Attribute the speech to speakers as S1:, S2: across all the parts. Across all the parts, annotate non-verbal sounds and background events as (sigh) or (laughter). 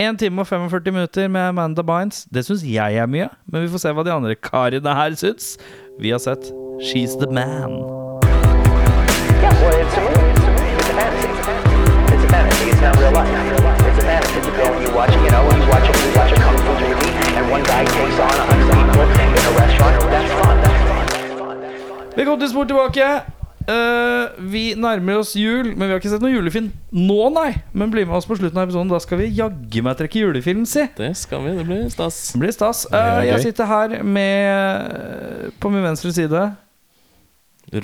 S1: 1 time og 45 minutter med Amanda Bynes. Det syns jeg er mye, men vi får se hva de andre karene her syns. Vi har sett She's the Man.
S2: Yeah, well, it's a movie. It's a movie. It's a fantasy. It's a fantasy. It's not real life. It's a fantasy. You go and you watch, you know, you watch, you watch a kung fu movie, and one guy takes on a hundred people in a restaurant. That's fun. That's fun. That's fun. That's fun.
S1: Velkommen til Sport tilbake. Eh, vi nærmer oss jul, men vi har ikke sett noen julefilm nå, nei. Men bli med oss på slutten av episoden. Da skal vi jaggu meg trekke julefilm, si. Det
S3: Det skal vi. Det blir stas.
S1: blir stas. Eh,
S3: er
S1: jeg
S3: gøy.
S1: sitter her med På min venstre side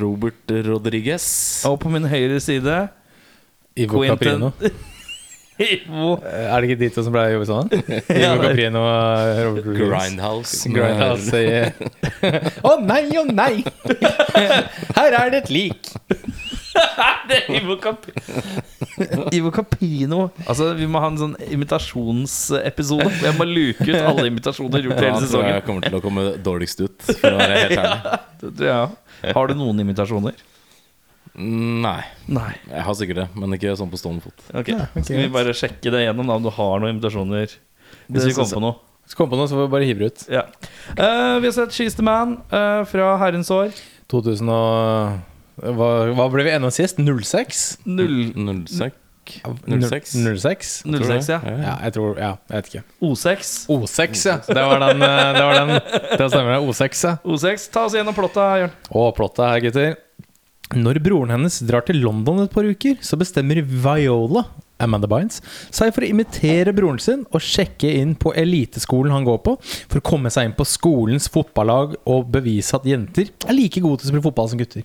S3: Robert Rodriguez.
S1: og på min høyre side
S4: Ivo
S1: Quentin.
S4: Caprino.
S1: Ivo.
S4: (laughs) Er det ikke de to som ble jobbet (laughs) sammen?
S1: Ja,
S4: Ivo
S1: det-
S4: Caprino og Robert Rodriguez.
S3: Grindhouse.
S4: Grindhouse sier (laughs) Å nei, å nei! Her er det et lik!
S1: Det er Ivo Capino. (laughs) Ivo Capino. Altså, vi må ha en sånn imitasjonsepisode. hvor Jeg må luke ut alle imitasjoner gjort i
S3: Ja,
S1: hele
S3: tror jeg
S1: sesongen.
S3: kommer til å komme dårligst ut, for å være helt ærlig.
S1: Det tror jeg også. Har du noen imitasjoner?
S3: Nei.
S1: Nei.
S3: Jeg har sikkert det, men ikke sånn på stående fot.
S1: Ok, Skal vi bare sjekke det gjennom, da, om du har noen invitasjoner? Hvis vi
S3: synes
S1: kommer
S3: jeg.
S1: på noe.
S4: Så kom på noe, så får vi bare hive det ut.
S1: Ja. Eh, vi har sett 'She's the Man' eh, fra herrens år.
S4: 2000 og hva, hva ble vi ennå sist? 06?
S1: Null-
S3: 06?
S4: Null-
S3: 06?
S4: 06?
S1: 06, ja.
S4: Ja, jeg tror Ja, jeg vet ikke.
S1: O6.
S4: O6, ja. Det var den. eh, Det, var den. det stemmer, det. O6, ja.
S1: O6, Ta oss gjennom plotta, Jørn.
S4: Og plottet her, gutter. Når broren hennes drar til London et par uker, så bestemmer Viola Amanda Bynes seg for å imitere broren sin og sjekke inn på eliteskolen han går på, for å komme seg inn på skolens fotballag og bevise at jenter er like gode til å spille fotball som gutter.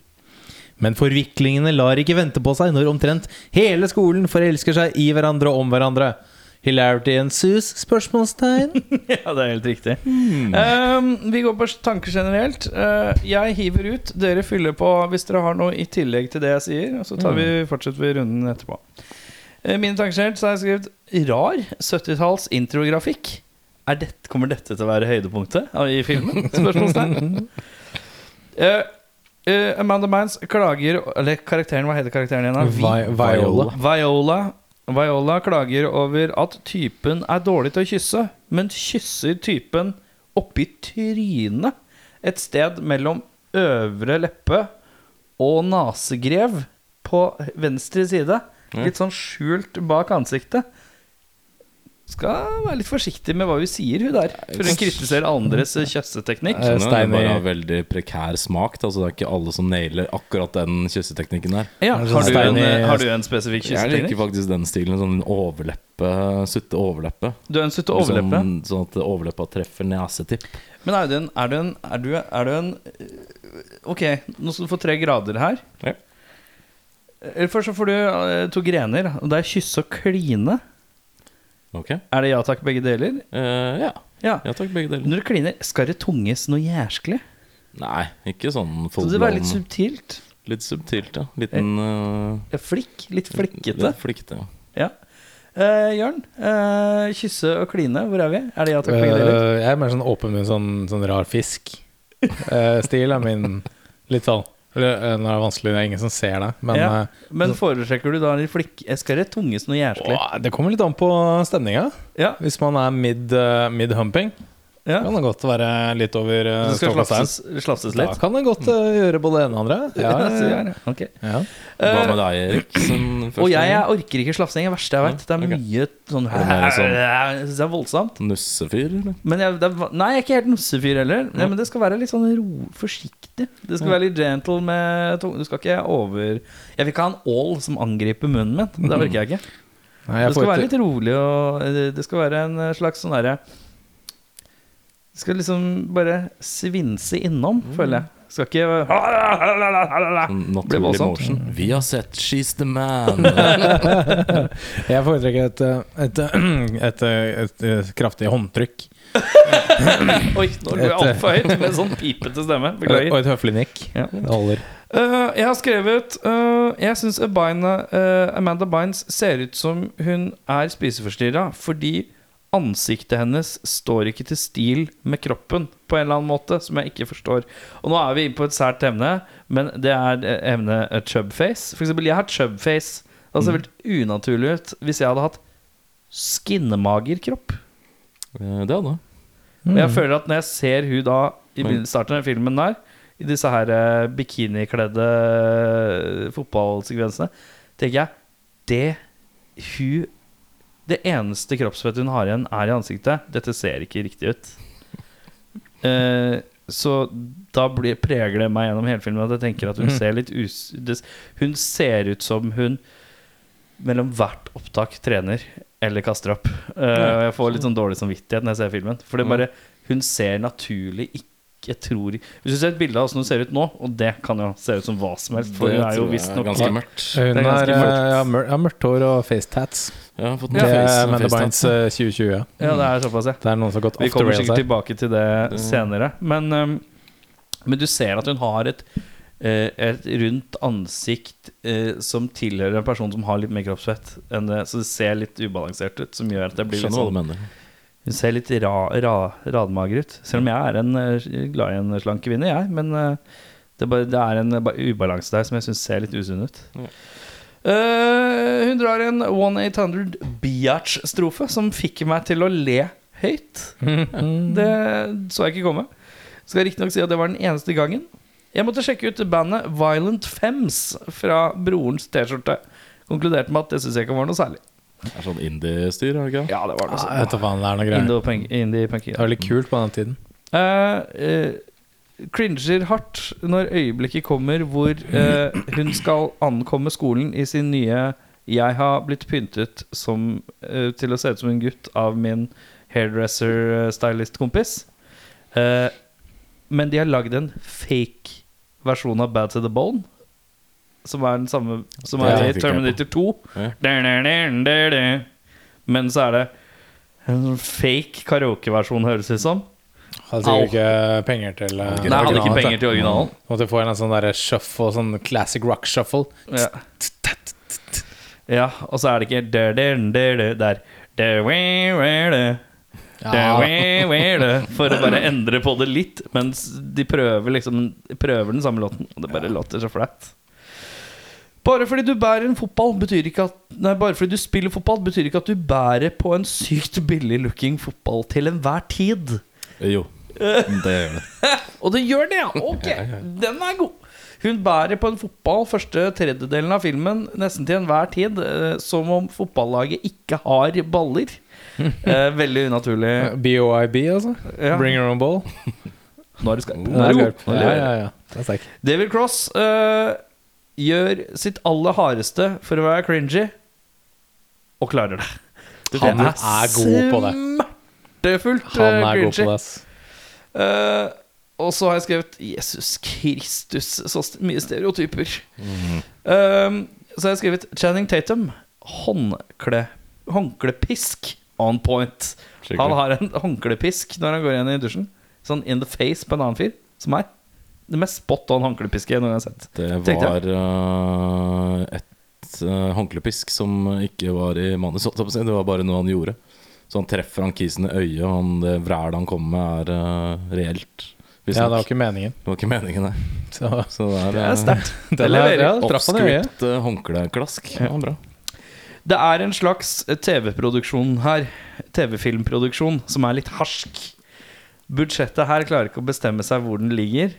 S4: Men forviklingene lar ikke vente på seg når omtrent hele skolen forelsker seg i hverandre og om hverandre. Hilarity ensues? Spørsmålstegn.
S1: (laughs) Ja, det er helt riktig. Eh, vi går på tanker generelt. Eh, jeg hiver ut. Dere fyller på hvis dere har noe i tillegg til det jeg sier. Og så tar vi, fortsetter vi runden etterpå. Eh, mine tanker generelt så har jeg skrevet rar 70-talls intrografikk. Er dette, kommer dette til å være høydepunktet av- i filmen? Spørsmålstegn. Eh, eh, Amanda Mines klager Eller karakteren, hva heter karakteren igjen? da?
S4: Vi- Viola.
S1: Viola Viola klager over at typen er dårlig til å kysse, men kysser typen oppi trynet. Et sted mellom øvre leppe og nasegrev på venstre side. Litt sånn skjult bak ansiktet. Skal være litt forsiktig med hva hun sier, hun der. For hun kritiserer andres kjøsseteknikk.
S4: Eh,
S3: Sånn, det er
S4: Steiner-
S3: bare av veldig prekær smak. da, så det er ikke alle som nailer akkurat den kysseteknikken der.
S1: Ja, har, du en, har du en spesifikk
S3: Jeg liker
S1: kysseteknikk?
S3: faktisk den stilen. Sånn overleppe, sutte overleppe.
S1: Du er en sutte overleppe.
S3: Sånn, sånn at overleppa treffer nesetipp.
S1: Men er du en, er du en, er du, er du en øh, Ok, nå skal du få tre grader her.
S3: Ja.
S1: Eller Først så får du øh, to grener. Og det er kysse og kline.
S3: Ok.
S1: Er det ja takk, begge deler?
S3: Eh, ja.
S1: Ja.
S3: ja takk, begge deler.
S1: Når du kliner, skal det tunges noe jæsklig?
S3: Nei, ikke sånn
S1: Så
S3: full
S1: det være litt
S3: blown-
S1: subtilt.
S3: litt subtilt, ja. Liten eh,
S1: Flikk. Litt flikkete.
S3: litt Flikkete, ja.
S1: Ja. Eh, Jørn, eh, kysse og kline, hvor er vi? Er det ja takk, begge deler?
S4: Øh, jeg er mer sånn åpen med en sånn, sånn rar fisk-stil er min. Litt sånn. Eller, øh, Nå er det vanskelig, det er ingen som ser det. Men
S1: ja.
S4: øh,
S1: Men foretrekker du da litt flikk... eh, Skal det tunges noe jæsklig?
S4: åh, det kommer litt an på stemninga.
S1: Ja,
S4: Hvis man er mid, øh, mid humping,
S1: ja.
S4: kan det godt være litt over uh,
S1: Så det skal slafses, slafses
S4: Da
S1: litt?
S4: kan det godt øh, gjøre både det ene og det andre. (laughs) Ja,
S1: Så
S4: ja,
S1: gjør det. Ok.
S4: ja. ja.
S3: Hva med deg, Erik? Som første
S1: Eh, Og jeg,
S3: gang?
S1: jeg orker ikke slafsing. Det er det verste jeg vet. Det er
S3: ok.
S1: mye sånn
S3: det mer sånn-
S1: Jeg synes det er voldsomt.
S3: Nussefyr, eller?
S1: Men jeg, det er, va- nei, jeg er ikke helt nussefyr heller. Nei, men det skal være litt sånn ro, forsiktig. Det skal være litt gentle med tung- Du skal ikke over Jeg vil ikke ha en ål som angriper munnen min. Det orker jeg ikke.
S4: Nei,
S1: Det
S4: jeg
S1: skal
S4: foretre-
S1: være litt rolig, og eh, det skal være en eh, slags sånn derre Det skal liksom bare svinse innom, føler jeg. Skal ikke
S3: Sånn Naturlig
S1: voldsomt. Mm.
S3: motion. Vi har sett She's the Man. Eh, ja,
S4: Jeg foretrekker et, øh, et, øh, (clears throat) et, øh, et, øh, kraftig håndtrykk
S1: (laughs) Oi, nå går jeg
S4: Et, eh,
S1: altfor høyt med sånn pipete stemme. Beklager.
S4: (laughs) og et høflig nikk.
S1: Ja.
S4: Det holder.
S1: Eh, jeg har skrevet eh, Jeg syns Amanda Bynes ser ut som hun er spiseforstyrra fordi ansiktet hennes står ikke til stil med kroppen på en eller annen måte, som jeg ikke forstår. Og nå er vi på et sært emne, men det er eh, emnet eh, chubface. For eksempel, jeg har chubface. Det hadde sett helt unaturlig ut hvis jeg hadde hatt skinnemager kropp.
S3: Eh, Det hadde jeg.
S1: Og jeg føler at når jeg ser hun da i begynnelsen- starten av den filmen der, i disse her eh, bikinikledde eh, fotballsekvensene, tenker jeg det hun Det eneste kroppsfettet hun har igjen, er i ansiktet. Dette ser ikke riktig
S3: (laughs)
S1: ut. Eh, så da blir, preger det meg gjennom hele filmen at jeg tenker at hun ser litt us... det- Hun ser ut som hun mellom hvert opptak trener eller kaster opp. Eh, og jeg får litt sånn dårlig samvittighet når jeg ser filmen. For det bare,
S3: Mm.
S1: hun ser naturlig ikke jeg tror, Hvis du ser et bilde av åssen hun ser ut nå, og det kan jo se ut som hva som helst For
S3: Det
S1: hun er jo
S3: tror jeg
S1: visstnok
S3: ganske mørkt.
S4: Hun
S1: Det er
S4: er,
S1: ganske
S4: eh,
S1: mørkt.
S4: ja, mør ja, mørkt hår og facetats.
S3: Jeg har fått en
S4: Det
S3: face-
S4: er
S3: en
S4: Amanda
S3: face
S4: Bynes
S3: tattoo.
S4: eh, 2020. Ja.
S1: Ja, det er såpass, ja.
S4: Det er noen som har gått
S1: Vi
S4: off the
S1: kommer
S4: rails
S1: sikkert
S4: her.
S1: tilbake til
S3: Mm.
S1: det senere. Men, um, men du ser at hun har et, eh, et rundt ansikt eh, som tilhører en person som har litt mer kroppsfett. Enn det, så det ser litt ubalansert ut, som gjør at det blir litt
S3: Skjønner hva du
S1: sånn
S3: mener.
S1: Hun ser litt ra, ra, radmager ut. Selv om jeg er en, eh, glad i en slank kvinne, jeg. Men eh, det, er bare, det er en eh, bare ubalanse der som jeg syns ser litt usunn ut. Eh, hun drar en 1800 Biatch-strofe som fikk meg til å le høyt. Det så jeg ikke komme. Skal riktignok si at det var den eneste gangen. Jeg måtte sjekke ut bandet Violent Fems fra brorens T-skjorte. Konkluderte med at det syns jeg ikke var noe særlig.
S3: Det er sånn indie-styr, er det ikke?
S1: Ja, det var
S4: Ah, jeg vet da faen, det er noe greier.
S1: Indie-punk.
S4: Det var litt kult på den tiden.
S1: cringer Eh, hardt når øyeblikket kommer hvor eh, hun skal ankomme skolen i sin nye 'Jeg har blitt pyntet som, eh, til å se ut som en gutt' av min hairdresser-stylist-kompis. Eh, men de har lagd en fake versjon av Bad to the Bone. Som er den samme som
S3: Det
S1: er i
S3: tenkte ikke jeg
S1: Terminator 2.
S3: Ja.
S1: Men så er det en sånn fake karaokeversjon, høres det ut som.
S4: Hadde sikkert ikke penger til eh,
S1: Nei, hadde ikke
S4: originalen,
S1: penger
S4: da.
S1: til originalen.
S4: Måtte få en sånn der shuffle, sånn classic rock shuffle.
S1: Ja. ja, og så er det ikke der, der, der, der, der. Der, where, where, there. Der, where, where, there. For å bare endre på det litt, mens de prøver, liksom, prøver den samme låten. Og det bare låter så flaut. Bare fordi du bærer en fotball betyr ikke at Nei, bare fordi du spiller fotball, betyr ikke at du bærer på en sykt billig looking fotball til enhver tid.
S3: Eh, Jo,
S1: Eh.
S3: det gjør det.
S1: Og det gjør det, ja!
S4: (laughs)
S1: Ok, den er god. Hun bærer på en fotball første tredjedelen av filmen nesten til enhver tid, eh, som om fotballaget ikke har
S4: (laughs)
S1: baller. Eh, veldig unaturlig.
S4: BOIB, altså.
S1: Ja.
S4: Bring your own ball.
S1: Nå er det skarp.
S4: Nå er det skarp.
S1: Nå
S4: Ja,
S1: leverer
S4: ja, ja. Det er sterk.
S1: David Cross eh, gjør sitt aller hardeste for å være cringy, og klarer det.
S4: Han er god på det.
S1: Smertefullt
S4: Han
S1: eh,
S4: er god
S1: cringy.
S4: på det, ass.
S1: Eh, og så har jeg skrevet 'Jesus Kristus', så st- mye stereotyper.
S4: Mhm.
S1: Eh, så har jeg skrevet 'Channing Tatum'. Håndkle, håndklepisk on point.
S3: Skikkelig.
S1: Han har en håndklepisk når han går igjen i dusjen. Sånn in the face på en annen fyr, som er det mest spot on håndklepiske jeg noen gang har sett.
S3: Det
S1: Tenkte
S3: var eh, et eh, håndklepisk som ikke var i manus, holdt jeg på å si. Det var bare noe han gjorde. Så han treffer han kisen i øyet, og han, det vrælet han kommer med, er eh, reelt. Hvis
S4: Ja, det
S3: nok.
S4: var ikke meningen.
S3: det var ikke meningen, det.
S4: Så
S3: Så det er,
S1: Det er
S3: eh,
S1: sterkt. Det
S4: Den er-
S1: leverer.
S4: ja, traff han i øyet.
S3: oppskrypt eh, håndkleklask. Ja, bra.
S1: Det er en slags TV-produksjon her. TV-filmproduksjon som er litt harsk. Budsjettet her klarer ikke å bestemme seg hvor den ligger.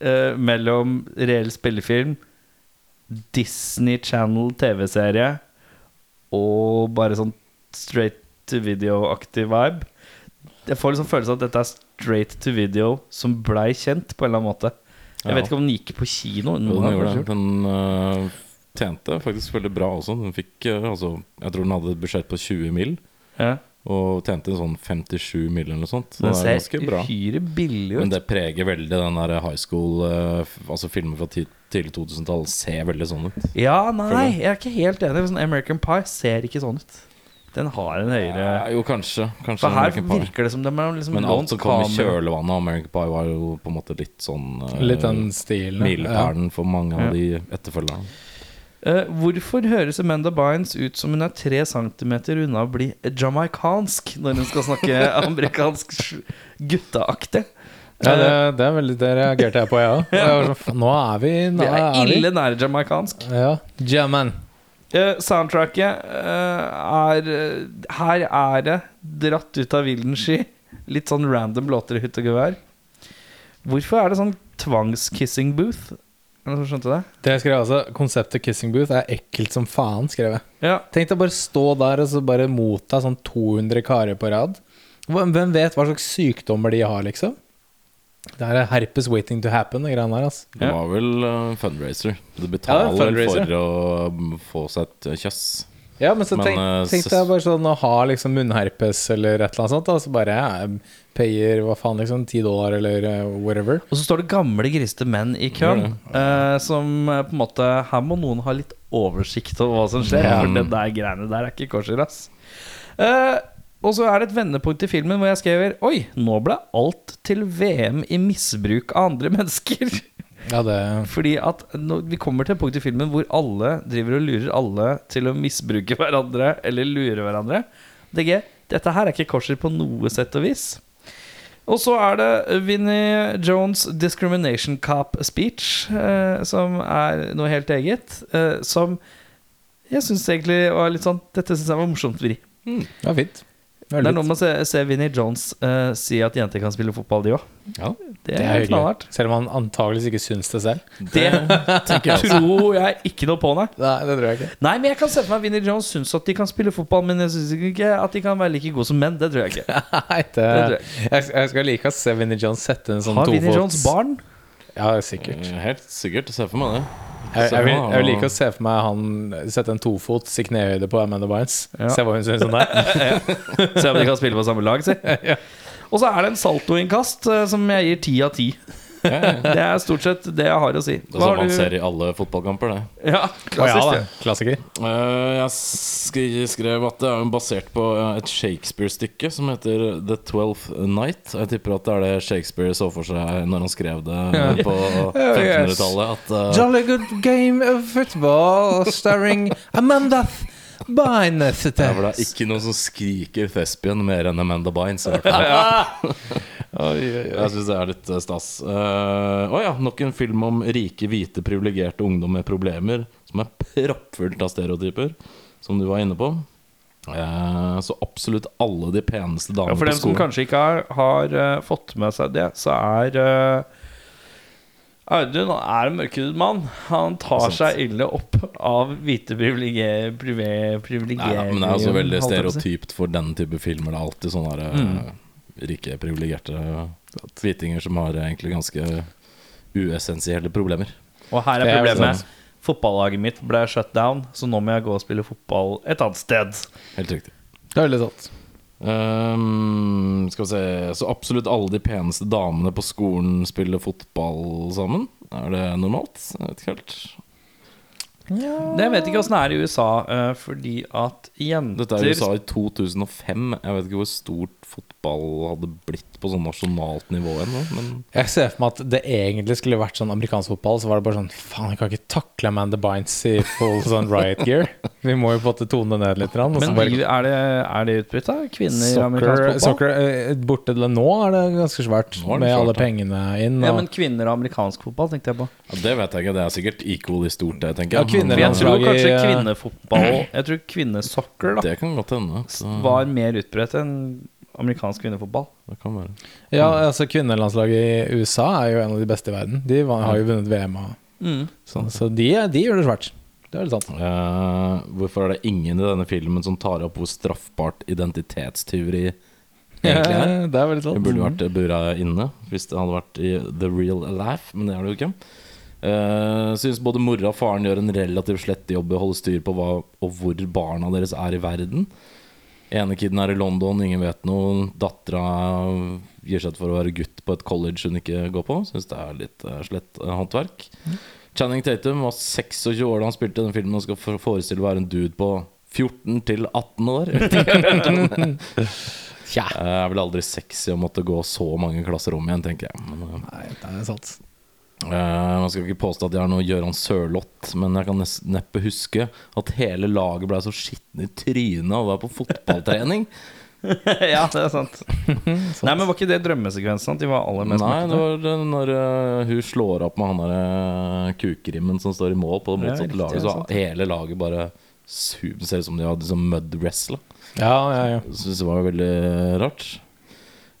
S1: eh, mellom reell spillefilm, Disney Channel TV-serie og bare sånn straight to video-aktig vibe. Jeg får liksom følelsen av at dette er straight to video som blei kjent på en eller annen måte. Jeg
S3: Ja.
S1: vet ikke om den gikk på kino.
S3: Jo,
S1: har
S3: den gjorde
S1: kanskje
S3: det. Den eh, tjente faktisk veldig bra også. Den fikk, eh, altså, jeg tror den hadde et budsjett på 20 mill.
S1: gjort det. Ja.
S3: Og tjente sånn 57 mill. eller noe sånt. Så
S1: Den
S3: det er
S1: ser
S3: ganske bra.
S1: uhyre billig ut.
S3: Men det preger veldig den der high school eh, f- Altså filmer fra ti- tidlig 2000-tall ser veldig sånn ut.
S1: Ja,
S3: Føler
S1: nei, jeg er ikke helt enig. Sånn American Pie ser ikke sånn ut. Den har en høyere
S3: Ja, jo, kanskje. kanskje
S1: For her
S3: American Pie.
S1: virker det som de har liksom
S3: Men
S1: lånt
S3: alt som kom i
S1: kamera.
S3: kjølvannet av American Pie, var jo på en måte litt sånn eh,
S4: Litt den stilen. ja.
S3: Milepælen for mange
S1: Ja.
S3: av de etterfølgerne.
S1: Eh, hvorfor høres Amanda Bynes ut som hun er tre centimeter unna å bli jamaicansk når hun skal snakke
S3: (laughs)
S1: amerikansk sj- gutteaktig?
S4: Ja, det, det er veldig Det reagerte jeg på, jeg òg. sånn, Nå er vi nå
S1: Det er
S4: er vi.
S1: ille nære jamaicansk.
S4: Ja. Jamaican.
S1: Eh, soundtracket eh, er eh, Her er det dratt ut av vilden sky. Litt sånn random låter i hytt og gevær. Hvorfor er det sånn tvangskissing booth? Er det noen som skjønte det?
S4: Det jeg skrev altså Konseptet kissing booth er ekkelt som faen, skrev jeg.
S1: Ja.
S4: Tenk deg bare stå der og så bare motta sånn 200 karer på rad. Hvem hvem vet hva slags sykdommer de har, liksom? Det her er herpes waiting to happen, de greiene her, altså.
S3: Det
S1: Ja.
S3: var vel eh, fundraiser. Du
S4: Ja, det er
S3: betaler
S4: fundraiser.
S3: for å mm, få seg et kjøss.
S4: Ja, men så
S3: Men,
S4: tenk,
S3: eh,
S4: tenk
S3: søs-
S4: deg bare sånn å ha liksom munnherpes eller et eller annet sånt, da, så bare ja, payer hva faen, liksom, 10 dollar eller eh, whatever.
S1: Og så står det gamle, griste menn i køen. eh, som eh, på en måte Her må noen ha litt oversikt over hva som skjer.
S3: Ja.
S1: For det der greiene der er ikke korser, ass. Eh, og så er det et vendepunkt i filmen hvor jeg skriver Oi, nå ble alt til VM i misbruk av andre mennesker. (laughs)
S4: Ja, det
S1: Fordi at nå, vi kommer til et punkt i filmen hvor alle driver og lurer alle til å misbruke hverandre eller lure hverandre. DG, dette her er ikke korser på noe sett og vis. Og så er det Vinnie Jones' discrimination cop speech, eh, som er noe helt eget. Eh, som jeg syns egentlig var litt sånn Dette syns jeg var morsomt vri.
S4: var fint.
S1: Det er
S4: Veldig
S1: noe med å se, se Vinnie Jones eh, si at jenter kan spille fotball, de òg.
S3: Ja,
S1: Det
S4: Det
S1: er
S4: er
S1: knallhardt.
S4: hyggelig. Selv om han antageligvis ikke syns det selv.
S1: Det (laughs) tror jeg ikke noe på, nei.
S4: Nei, det tror jeg ikke.
S1: Nei, men jeg kan se for meg at Vinnie Jones syns at de kan spille fotball, men jeg syns ikke at de kan være like gode som menn. Det tror jeg ikke.
S4: (laughs) Nei, det,
S1: tror
S4: jeg, jeg skal like å se Vinnie Jones sette en sånn
S1: Har Vinnie Jones
S3: (laughs)
S1: barn?
S4: Ja, sikkert.
S3: eh, helt sikkert. Se for meg
S1: (laughs)
S3: det.
S4: Jeg,
S3: Så
S4: jeg, vil,
S3: han-
S4: jeg vil like å se for meg han sette en tofots i knehøyde på Amanda Bynes.
S1: Ja.
S4: Se hva hun syns
S1: (laughs)
S4: om det.
S1: Se om de kan spille på samme lag, (laughs) si. Og så er det en saltoinnkast eh, som jeg gir ti av ti. Det er stort sett det jeg har å si.
S3: Det er sånn
S1: har
S3: man
S1: du-
S3: ser i alle fotballkamper, det.
S1: Ja,
S4: Å ja,
S1: klassisk.
S4: da. Klassiker.
S3: Eh, jeg sk- skrev at det er jo basert på eh, et Shakespeare-stykke som heter The Twelfth Night. Jeg tipper at det er det Shakespeare så for seg når han skrev det eh,
S1: (laughs)
S3: på 1500-tallet. At eh,
S4: Jolly good game of football starring Amanda Bynes.
S3: ja, for det er ikke noen som skriker Thespian mer enn Amanda Bynes. i hvert fall.
S1: (laughs)
S3: Jeg syns det er litt eh, stas. Eh, Å ja, nok en film om rike, hvite, privilegerte ungdom med problemer som er proppfullt av stereotyper, som du var inne på. Eh, så absolutt alle de peneste damene
S1: Ja, for
S3: på
S1: dem som
S3: skolen.
S1: kanskje ikke har, har eh, fått med seg det, så er eh, Audun er en mørkhudet mann. Han tar
S3: Det er sant.
S1: seg ille opp av hvite privilegier
S3: Nei, da, men det er også veldig stereotypt for den type filmer. Det er alltid sånne der,
S4: Mm.
S3: eh, rike, privilegerte hvitinger som har eh, egentlig ganske uessensielle problemer.
S1: Og her er
S4: Det er vel
S1: problemet.
S4: sant.
S1: Fotballaget mitt ble shut down, så nå må jeg gå og spille fotball et annet sted.
S3: Helt riktig.
S4: Det er veldig sant.
S3: Ehm, skal vi se Så absolutt alle de peneste damene på skolen spiller fotball sammen? Er det normalt? Jeg vet ikke helt.
S1: Men jeg vet ikke åssen det er i USA, eh, fordi at jenter
S3: Dette er USA i 2005. Jeg vet ikke hvor stort fotball hadde blitt på sånn nasjonalt nivå ennå, men
S4: Jeg ser for meg at det egentlig skulle vært sånn amerikansk fotball, så var det bare sånn Faen, jeg kan ikke takle Amanda Bynes i full sånn riot gear. Vi må jo på en måte tone det ned litt. grann, og så
S1: Men
S4: bare-
S1: de- er det, er det utbrytt, da? Kvinner i amerikansk fotball?
S4: Soccer, soccer eh, borte til nå er det ganske svært,
S3: Nå er det
S4: med
S3: svært,
S4: alle
S3: ja.
S4: pengene inn. Og,
S1: Ja, men kvinner og amerikansk fotball, tenkte jeg på.
S3: ja, det vet jeg ikke. Det er sikkert equally stort, det, tenker
S4: Ja,
S3: jeg.
S4: kvinner
S1: For jeg tror
S4: Landslag i,
S1: kanskje
S4: eh,
S1: kvinnefotball Jeg tror kvinnesokker da
S3: Det kan godt hende. så-
S1: var mer utbredt enn amerikansk kvinnefotball.
S3: Det kan være.
S4: ja,
S3: Mm.
S4: altså Kvinnelandslaget i USA er jo en av de beste i verden. De va- har jo vunnet VM og
S3: Mm.
S4: sånn, så de, de gjør det svært. Det er veldig sant.
S3: Eh, hvorfor er det ingen i denne filmen som tar opp hvor straffbart identitetstyveri (laughs) egentlig
S1: Eh,
S3: er?
S4: Ja, Eh, det er veldig
S3: Det
S4: sant.
S3: burde vært bura inne hvis det hadde vært i the real life, men det er det jo ikke. Uh, synes både mora og faren gjør en relativt slett jobb i å holde styr på hva og hvor barna deres er i verden. Ene kiden er i London, ingen vet noe. Dattera gir seg ut for å være gutt på et college hun ikke går på. Syns det er litt eh, slett eh, håndverk. Channing Tatum var 26 år da han spilte denne filmen og skal for- forestille å være en dude på 14 til 18 år.
S4: Ja,
S3: Det Eh, er vel aldri sexy å måtte gå så mange klasser om igjen, tenker jeg. Men, eh,
S4: nei, det er sant.
S3: eh, man skal ikke påstå at jeg er noe Gøran Sørloth, men jeg kan nes- neppe huske at hele laget ble så skitne i trynet av å være på fotballtrening.
S1: (laughs) ja, det er
S3: (laughs)
S1: sant. Nei, men var ikke det drømmesekvensen? At de (laughs) var aller mest
S3: Nei, det
S1: nakne?
S3: var det når eh, hun slår opp med han der eh, kukrimmen som står i mål på det
S1: Ja,
S3: motsatte
S1: riktig, ja,
S3: laget, så
S1: sant.
S3: hele laget bare super, det ser ut som de hadde liksom mud wrestla.
S4: Ja, ja, ja.
S3: Syns det var veldig rart.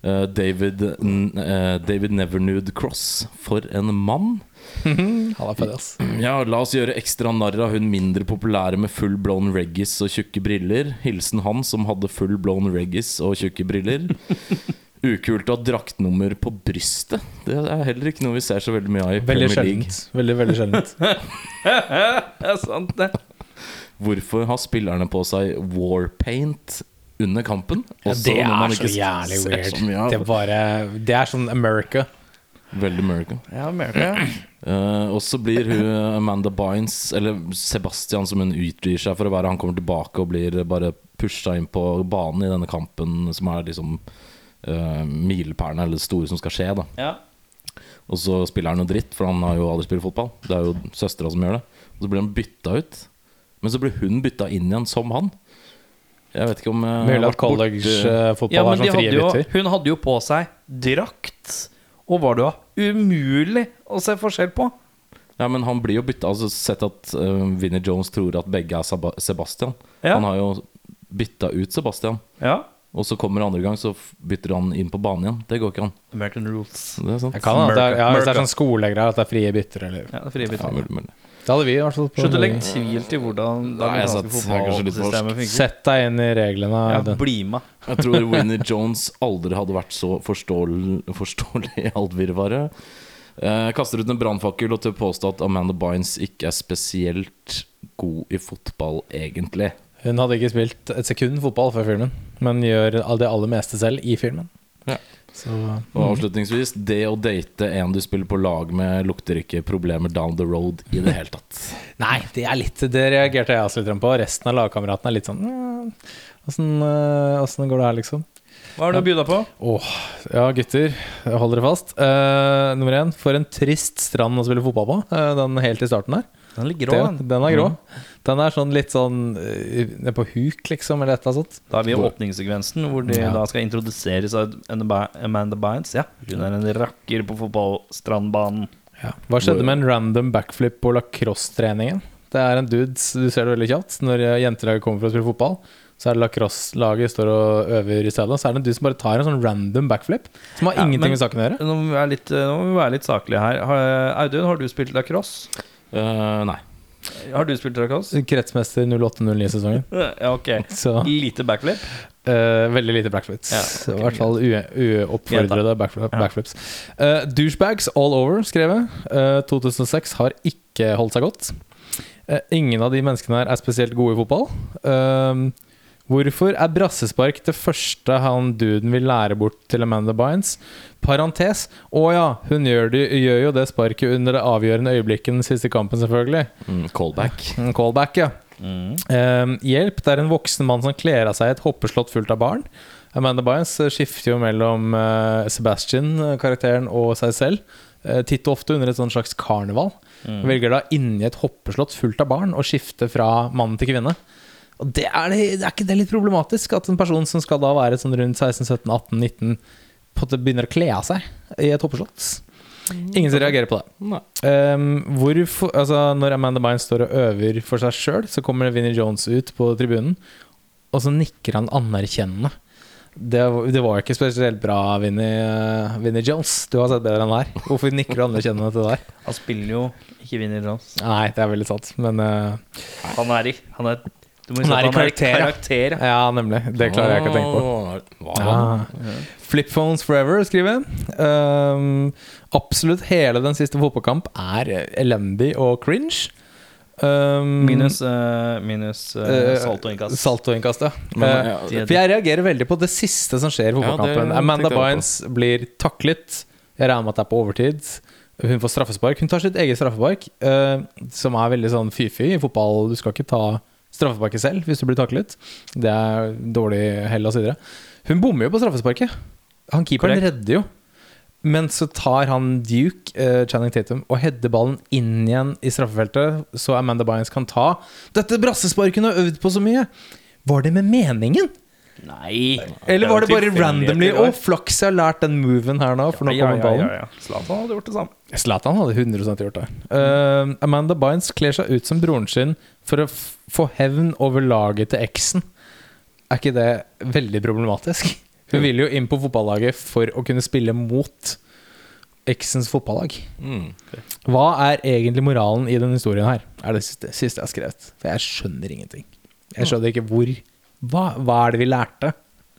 S3: Eh, David, n eh, David Nevernude Cross, for en mann.
S4: Han er fedd, ass.
S3: Ja, la oss gjøre ekstra narr av hun mindre populære med full blown reggis og tjukke briller. Hilsen han som hadde full blown reggis og tjukke
S4: (laughs)
S3: briller. Ukult å ha draktnummer på brystet. Det er heller ikke noe vi ser så veldig mye av i
S4: Veldig
S3: Premier League.
S4: sjeldent. Veldig, veldig sjeldent.
S1: (laughs) Det er sant, det.
S3: Hvorfor har spillerne på seg warpaint under kampen? (laughs)
S4: Ja,
S3: Også
S4: det
S3: når man
S4: er
S3: ikke
S4: så jævlig
S3: ser
S4: weird.
S3: så mye av
S4: Det
S3: det.
S4: er bare Det er sånn America.
S3: Veldig miracle.
S1: Ja, America.
S3: Eh, og så blir hun eh, Amanda Bynes, eller Sebastian som hun utgir seg for å være, han kommer tilbake og blir bare pusha inn på banen i denne kampen, som er liksom uh, milepælene, eller det store som skal skje. da
S1: Ja.
S3: Og så spiller han noe dritt, for han har jo aldri spilt fotball. Det er jo søstera som gjør det. Og så blir han bytta ut. Men så blir hun bytta inn igjen, som han. Jeg vet ikke om jeg har
S4: Mulig
S3: vært
S4: at
S3: borte-
S4: college-fotball
S1: ja, men
S4: er
S1: de
S4: sånn frie
S1: hadde jo,
S4: bytter.
S1: hun hadde jo på seg drakt. Og var det jo umulig å se forskjell på.
S3: Ja, men han blir jo bytta. Altså, sett at uh, Vinnie Jones tror at begge er Saba Sebastian.
S1: Ja.
S3: Han har jo bytta ut Sebastian.
S1: Ja.
S3: Og så kommer andre gang, så f- bytter han inn på banen igjen. Det går ikke an.
S1: American rules.
S3: Det er sant.
S4: Jeg kan, at det er, ja, hvis det er
S1: America.
S4: sånn skolegreier, at det er frie bytter, eller
S1: Ja, det er frivillig.
S3: Ja, mulig, mulig.
S4: Det hadde vi i hvert fall. på-
S1: Slutt å legge tvil til hvordan det
S3: Nei, jeg satt-
S1: amerikanske
S3: jeg er kanskje litt norsk.
S1: fotballsystemet funker.
S4: Sett deg inn i reglene.
S1: Ja,
S4: den.
S1: bli med.
S3: Jeg tror Winnie Jones aldri hadde vært så forståel- forståelig i alt virvaret. Eh, kaster ut en brannfakkel og til å påstå at Amanda Bynes ikke er spesielt god i fotball, egentlig.
S4: Hun hadde ikke spilt et sekund fotball før filmen, men gjør all- det aller meste selv i filmen.
S3: Ja.
S4: Så
S3: Og
S4: Mhm.
S3: avslutningsvis, det å date en du spiller på lag med, lukter ikke problemer down the road i det hele tatt.
S4: Nei, det er litt Det reagerte jeg også litt på. Resten av lagkameratene er litt sånn «Nja, Åssen eh, åssen går det her, liksom?
S1: Hva har du å by deg på?
S4: Åh, ja, gutter. Hold dere fast. Eh, nummer én, for en trist strand å spille fotball på. eh, den helt i starten der.
S1: Den ligger grå,
S4: Den,
S1: den.
S4: den er grå. Den er sånn litt sånn eh, ned på huk, liksom, eller et eller annet sånt.
S1: Da er vi i åpningssekvensen, hvor de
S4: Ja.
S1: da skal introduseres av Amanda Bynes. Ja, hun er en rakker på fotballstrandbanen.
S4: Hva skjedde med en random backflip på lacrosse-treningen? Det er en dude, s- du ser det veldig kjapt, når eh, jentelaget kommer for å spille fotball, så er det lacrosse-laget står og øver i stedet, så er det en dude som bare tar en sånn random backflip, som har
S1: Ja,
S4: ingenting
S1: men-
S4: med saken å gjøre.
S1: Nå må vi være litt, nå må vi være litt saklige her. Har- Audun, har du spilt lacrosse?
S3: Eh, nei.
S1: Har du spilt lacrosse?
S4: Kretsmester 08-09-sesongen.
S1: Ja, ok.
S4: Så
S1: Lite backflip.
S4: eh, veldig lite backflips.
S1: Ja,
S4: I hvert fall ue- uoppfordrede backflip,
S1: Ja.
S4: backflips. Eh, douchebags all over, skrev jeg. Eh, 2006 har ikke holdt seg godt. Eh, ingen av de menneskene her er spesielt gode i fotball. Eh, hvorfor er brassespark det første han duden vil lære bort til Amanda Bynes? Parentes. Å ja, hun gjør, det, gjør jo det sparket under det avgjørende øyeblikket den siste kampen, selvfølgelig.
S3: Mm, callback.
S4: En Callback, ja.
S1: Mm.
S4: Eh, hjelp, det er en voksen mann som kler av seg i et hoppeslott fullt av barn. Amanda Bynes eh, skifter jo mellom eh, Sebastian, eh, karakteren, og seg selv. eh, titt og ofte under et sånn slags karneval. Velger da inni et hoppeslott fullt av barn å skifte fra mann til kvinne. Og det er, det, det er ikke det litt problematisk at en person som skal da være sånn rundt 16, 17, 18, 19, på at det begynner å kle av seg i et hoppeslott? Ingen som reagerer på det.
S3: Nei.
S4: Ehm, hvorfor, altså, når Amanda Bynes står og øver for seg sjøl, så kommer Vinnie Jones ut på tribunen, og så nikker han anerkjennende. Det, var- det var jo ikke spesielt bra, Vinnie, eh, Vinnie Jones. Du har sett bedre enn her. Hvorfor nikker du anerkjennende til der?
S1: Han spiller jo ikke Vinnie Jones.
S4: Nei, det er veldig sant, men eh,
S1: Han er i Han er, du må
S4: Han
S1: si at
S4: er i karakter, ja.
S1: karakter. ja.
S4: Ja, nemlig. Det klarer jeg ikke å tenke på.
S3: Hva?
S4: Ah. Flip phones forever, skriver jeg. Ehm, absolutt hele den siste fotballkamp er elendig og cringe. Ehm,
S1: Minus, eh, minus eh,
S4: Eh,
S1: salt og innkast.
S4: Saltoinnkast, ja.
S3: Men,
S4: Eh,
S3: ja,
S1: det-
S4: For jeg reagerer veldig på det siste som skjer i
S3: Ja, det
S4: fotballkampen.
S3: tenkte
S4: Amanda
S3: jeg på.
S4: Bynes blir taklet. Jeg regner med at det er på overtid. Hun får straffespark. Hun tar sitt eget straffespark, eh, som er veldig sånn fy-fy i fotball. Du skal ikke ta straffesparket selv hvis du blir taklet. Det er dårlig hell og så videre. Hun bommer jo på straffesparket. Han keeperen
S1: Korrekt.
S4: redder jo. Men så tar han Duke, eh, Channing Tatum, og header ballen inn igjen i straffefeltet, så Amanda Bynes kan ta Dette brassesparket hun har øvd på så mye! Var det med meningen?
S1: Nei.
S4: Eller var det
S1: Det er
S4: bare
S1: jo
S4: randomly
S1: tilfeldigheter i
S4: Å,
S1: år.
S4: flaks jeg har lært den moven her nå, for nå
S1: Ja,
S4: kommer
S1: ja,
S4: ballen.
S1: ja, ja. Zlatan hadde gjort det samme.
S4: Zlatan hadde 100 gjort det. Eh, Amanda Bynes kler seg ut som broren sin for å f få hevn over laget til eksen. Er ikke det veldig problematisk? Hun ville jo inn på fotballaget for å kunne spille mot eksens fotballag.
S3: Mm.
S4: Hva er egentlig moralen i denne historien her? Er det siste, siste jeg har skrevet. For jeg skjønner ingenting. Jeg skjønner ikke hvor Hva, hva er det vi lærte?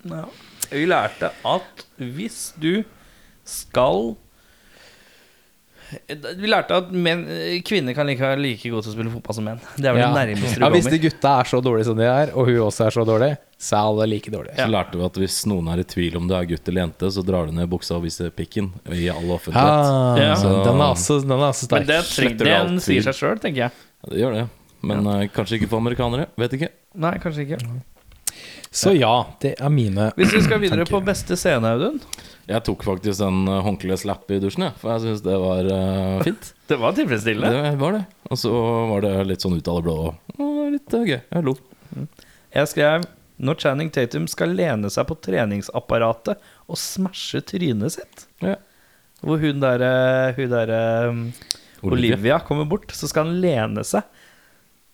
S1: Ja. Vi lærte at hvis du skal Vi lærte at menn, kvinner kan like, være like gode til å spille fotball som menn. Det er vel det nærmeste du
S4: ja, Hvis
S1: kommer.
S4: de gutta er så dårlige som de er, og hun også er så dårlig, så er alle like dårlige.
S3: Så lærte vi at hvis noen er i tvil om det er gutt eller jente, så drar de ned buksa og viser pikken i all offentlighet.
S4: Ah,
S1: Ja.
S4: så Den er også, den er også sterk.
S1: Men det treng,
S3: Sletter du
S1: den
S3: alt
S1: sier
S3: tvil?
S1: seg sjøl, tenker jeg.
S3: Ja, det gjør det. Men eh, kanskje ikke for amerikanere. Vet ikke.
S1: Nei, kanskje ikke.
S4: Så ja, det er mine
S1: Hvis vi skal videre
S4: Tenker
S1: på
S4: jeg.
S1: beste scene, Audun
S3: Jeg tok faktisk den eh, håndkleslapp i dusjen, jeg, for jeg syns det var eh, fint.
S1: Det var tilfredsstillende.
S3: Det var det. Og så var det litt sånn ut av det blå. og det var Litt eh, gøy. Jeg lo.
S1: Jeg skrev når Channing Tatum skal lene seg på treningsapparatet og smashe trynet sitt.
S3: Ja.
S1: Hvor hun der, eh, hun der eh,
S3: Olivia.
S1: Olivia kommer bort, så skal han lene seg.